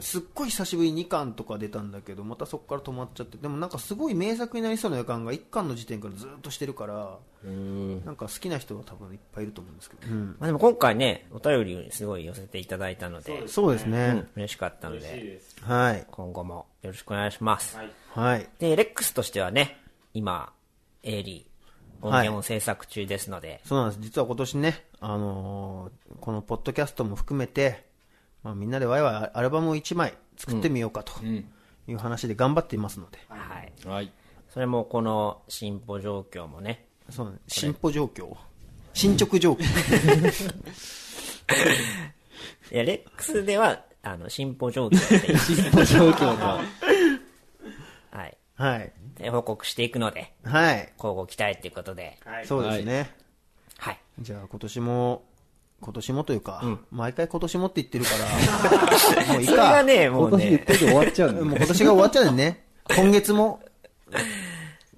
Speaker 2: すっごい久しぶりに2巻とか出たんだけど、またそこから止まっちゃって、でもなんかすごい名作になりそうな予感が1巻の時点からずっとしてるから、なんか好きな人は多分いっぱいいると思うんですけど。
Speaker 3: まあでも今回ね、お便りすごい寄せていただいたので、
Speaker 2: そうですね。
Speaker 3: うん嬉しかったので、
Speaker 1: す。
Speaker 2: はい。
Speaker 3: 今後もよろしくお願いします。
Speaker 2: はい。
Speaker 3: で、レックスとしてはね、今、エイリー、音源を制作中ですので、
Speaker 2: そうなんです。実は今年ね、あのーこのポッドキャストも含めて、まあ、みんなでワイワイアルバムを1枚作ってみようかという話で頑張っていますので、
Speaker 3: はい。
Speaker 9: はい。
Speaker 3: それもこの進歩状況もね、
Speaker 2: そうなんです進歩状況。進捗 状況。
Speaker 3: いや、レックスでは、あの、進歩状況って いう、
Speaker 9: 状況が。
Speaker 3: はい。
Speaker 2: はい。
Speaker 3: で報告していくので、
Speaker 2: はい。
Speaker 3: 交互期待ということで、
Speaker 2: そうですね。
Speaker 3: はい。
Speaker 2: じゃあ今年も、今年もというか、毎回今年もって言ってる から、もういい
Speaker 3: それが
Speaker 2: か。
Speaker 3: ね、
Speaker 9: 今
Speaker 3: もう
Speaker 9: 年言っ
Speaker 3: ね、
Speaker 9: てて終わっちゃ うん
Speaker 2: もう
Speaker 9: だ。
Speaker 2: 今年が終わっちゃうんでね。今月も、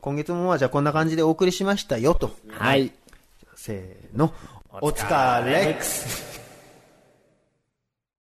Speaker 2: 今月もはじゃあこんな感じでお送りしましたよと。
Speaker 3: はい。
Speaker 2: せーの。お疲れっす。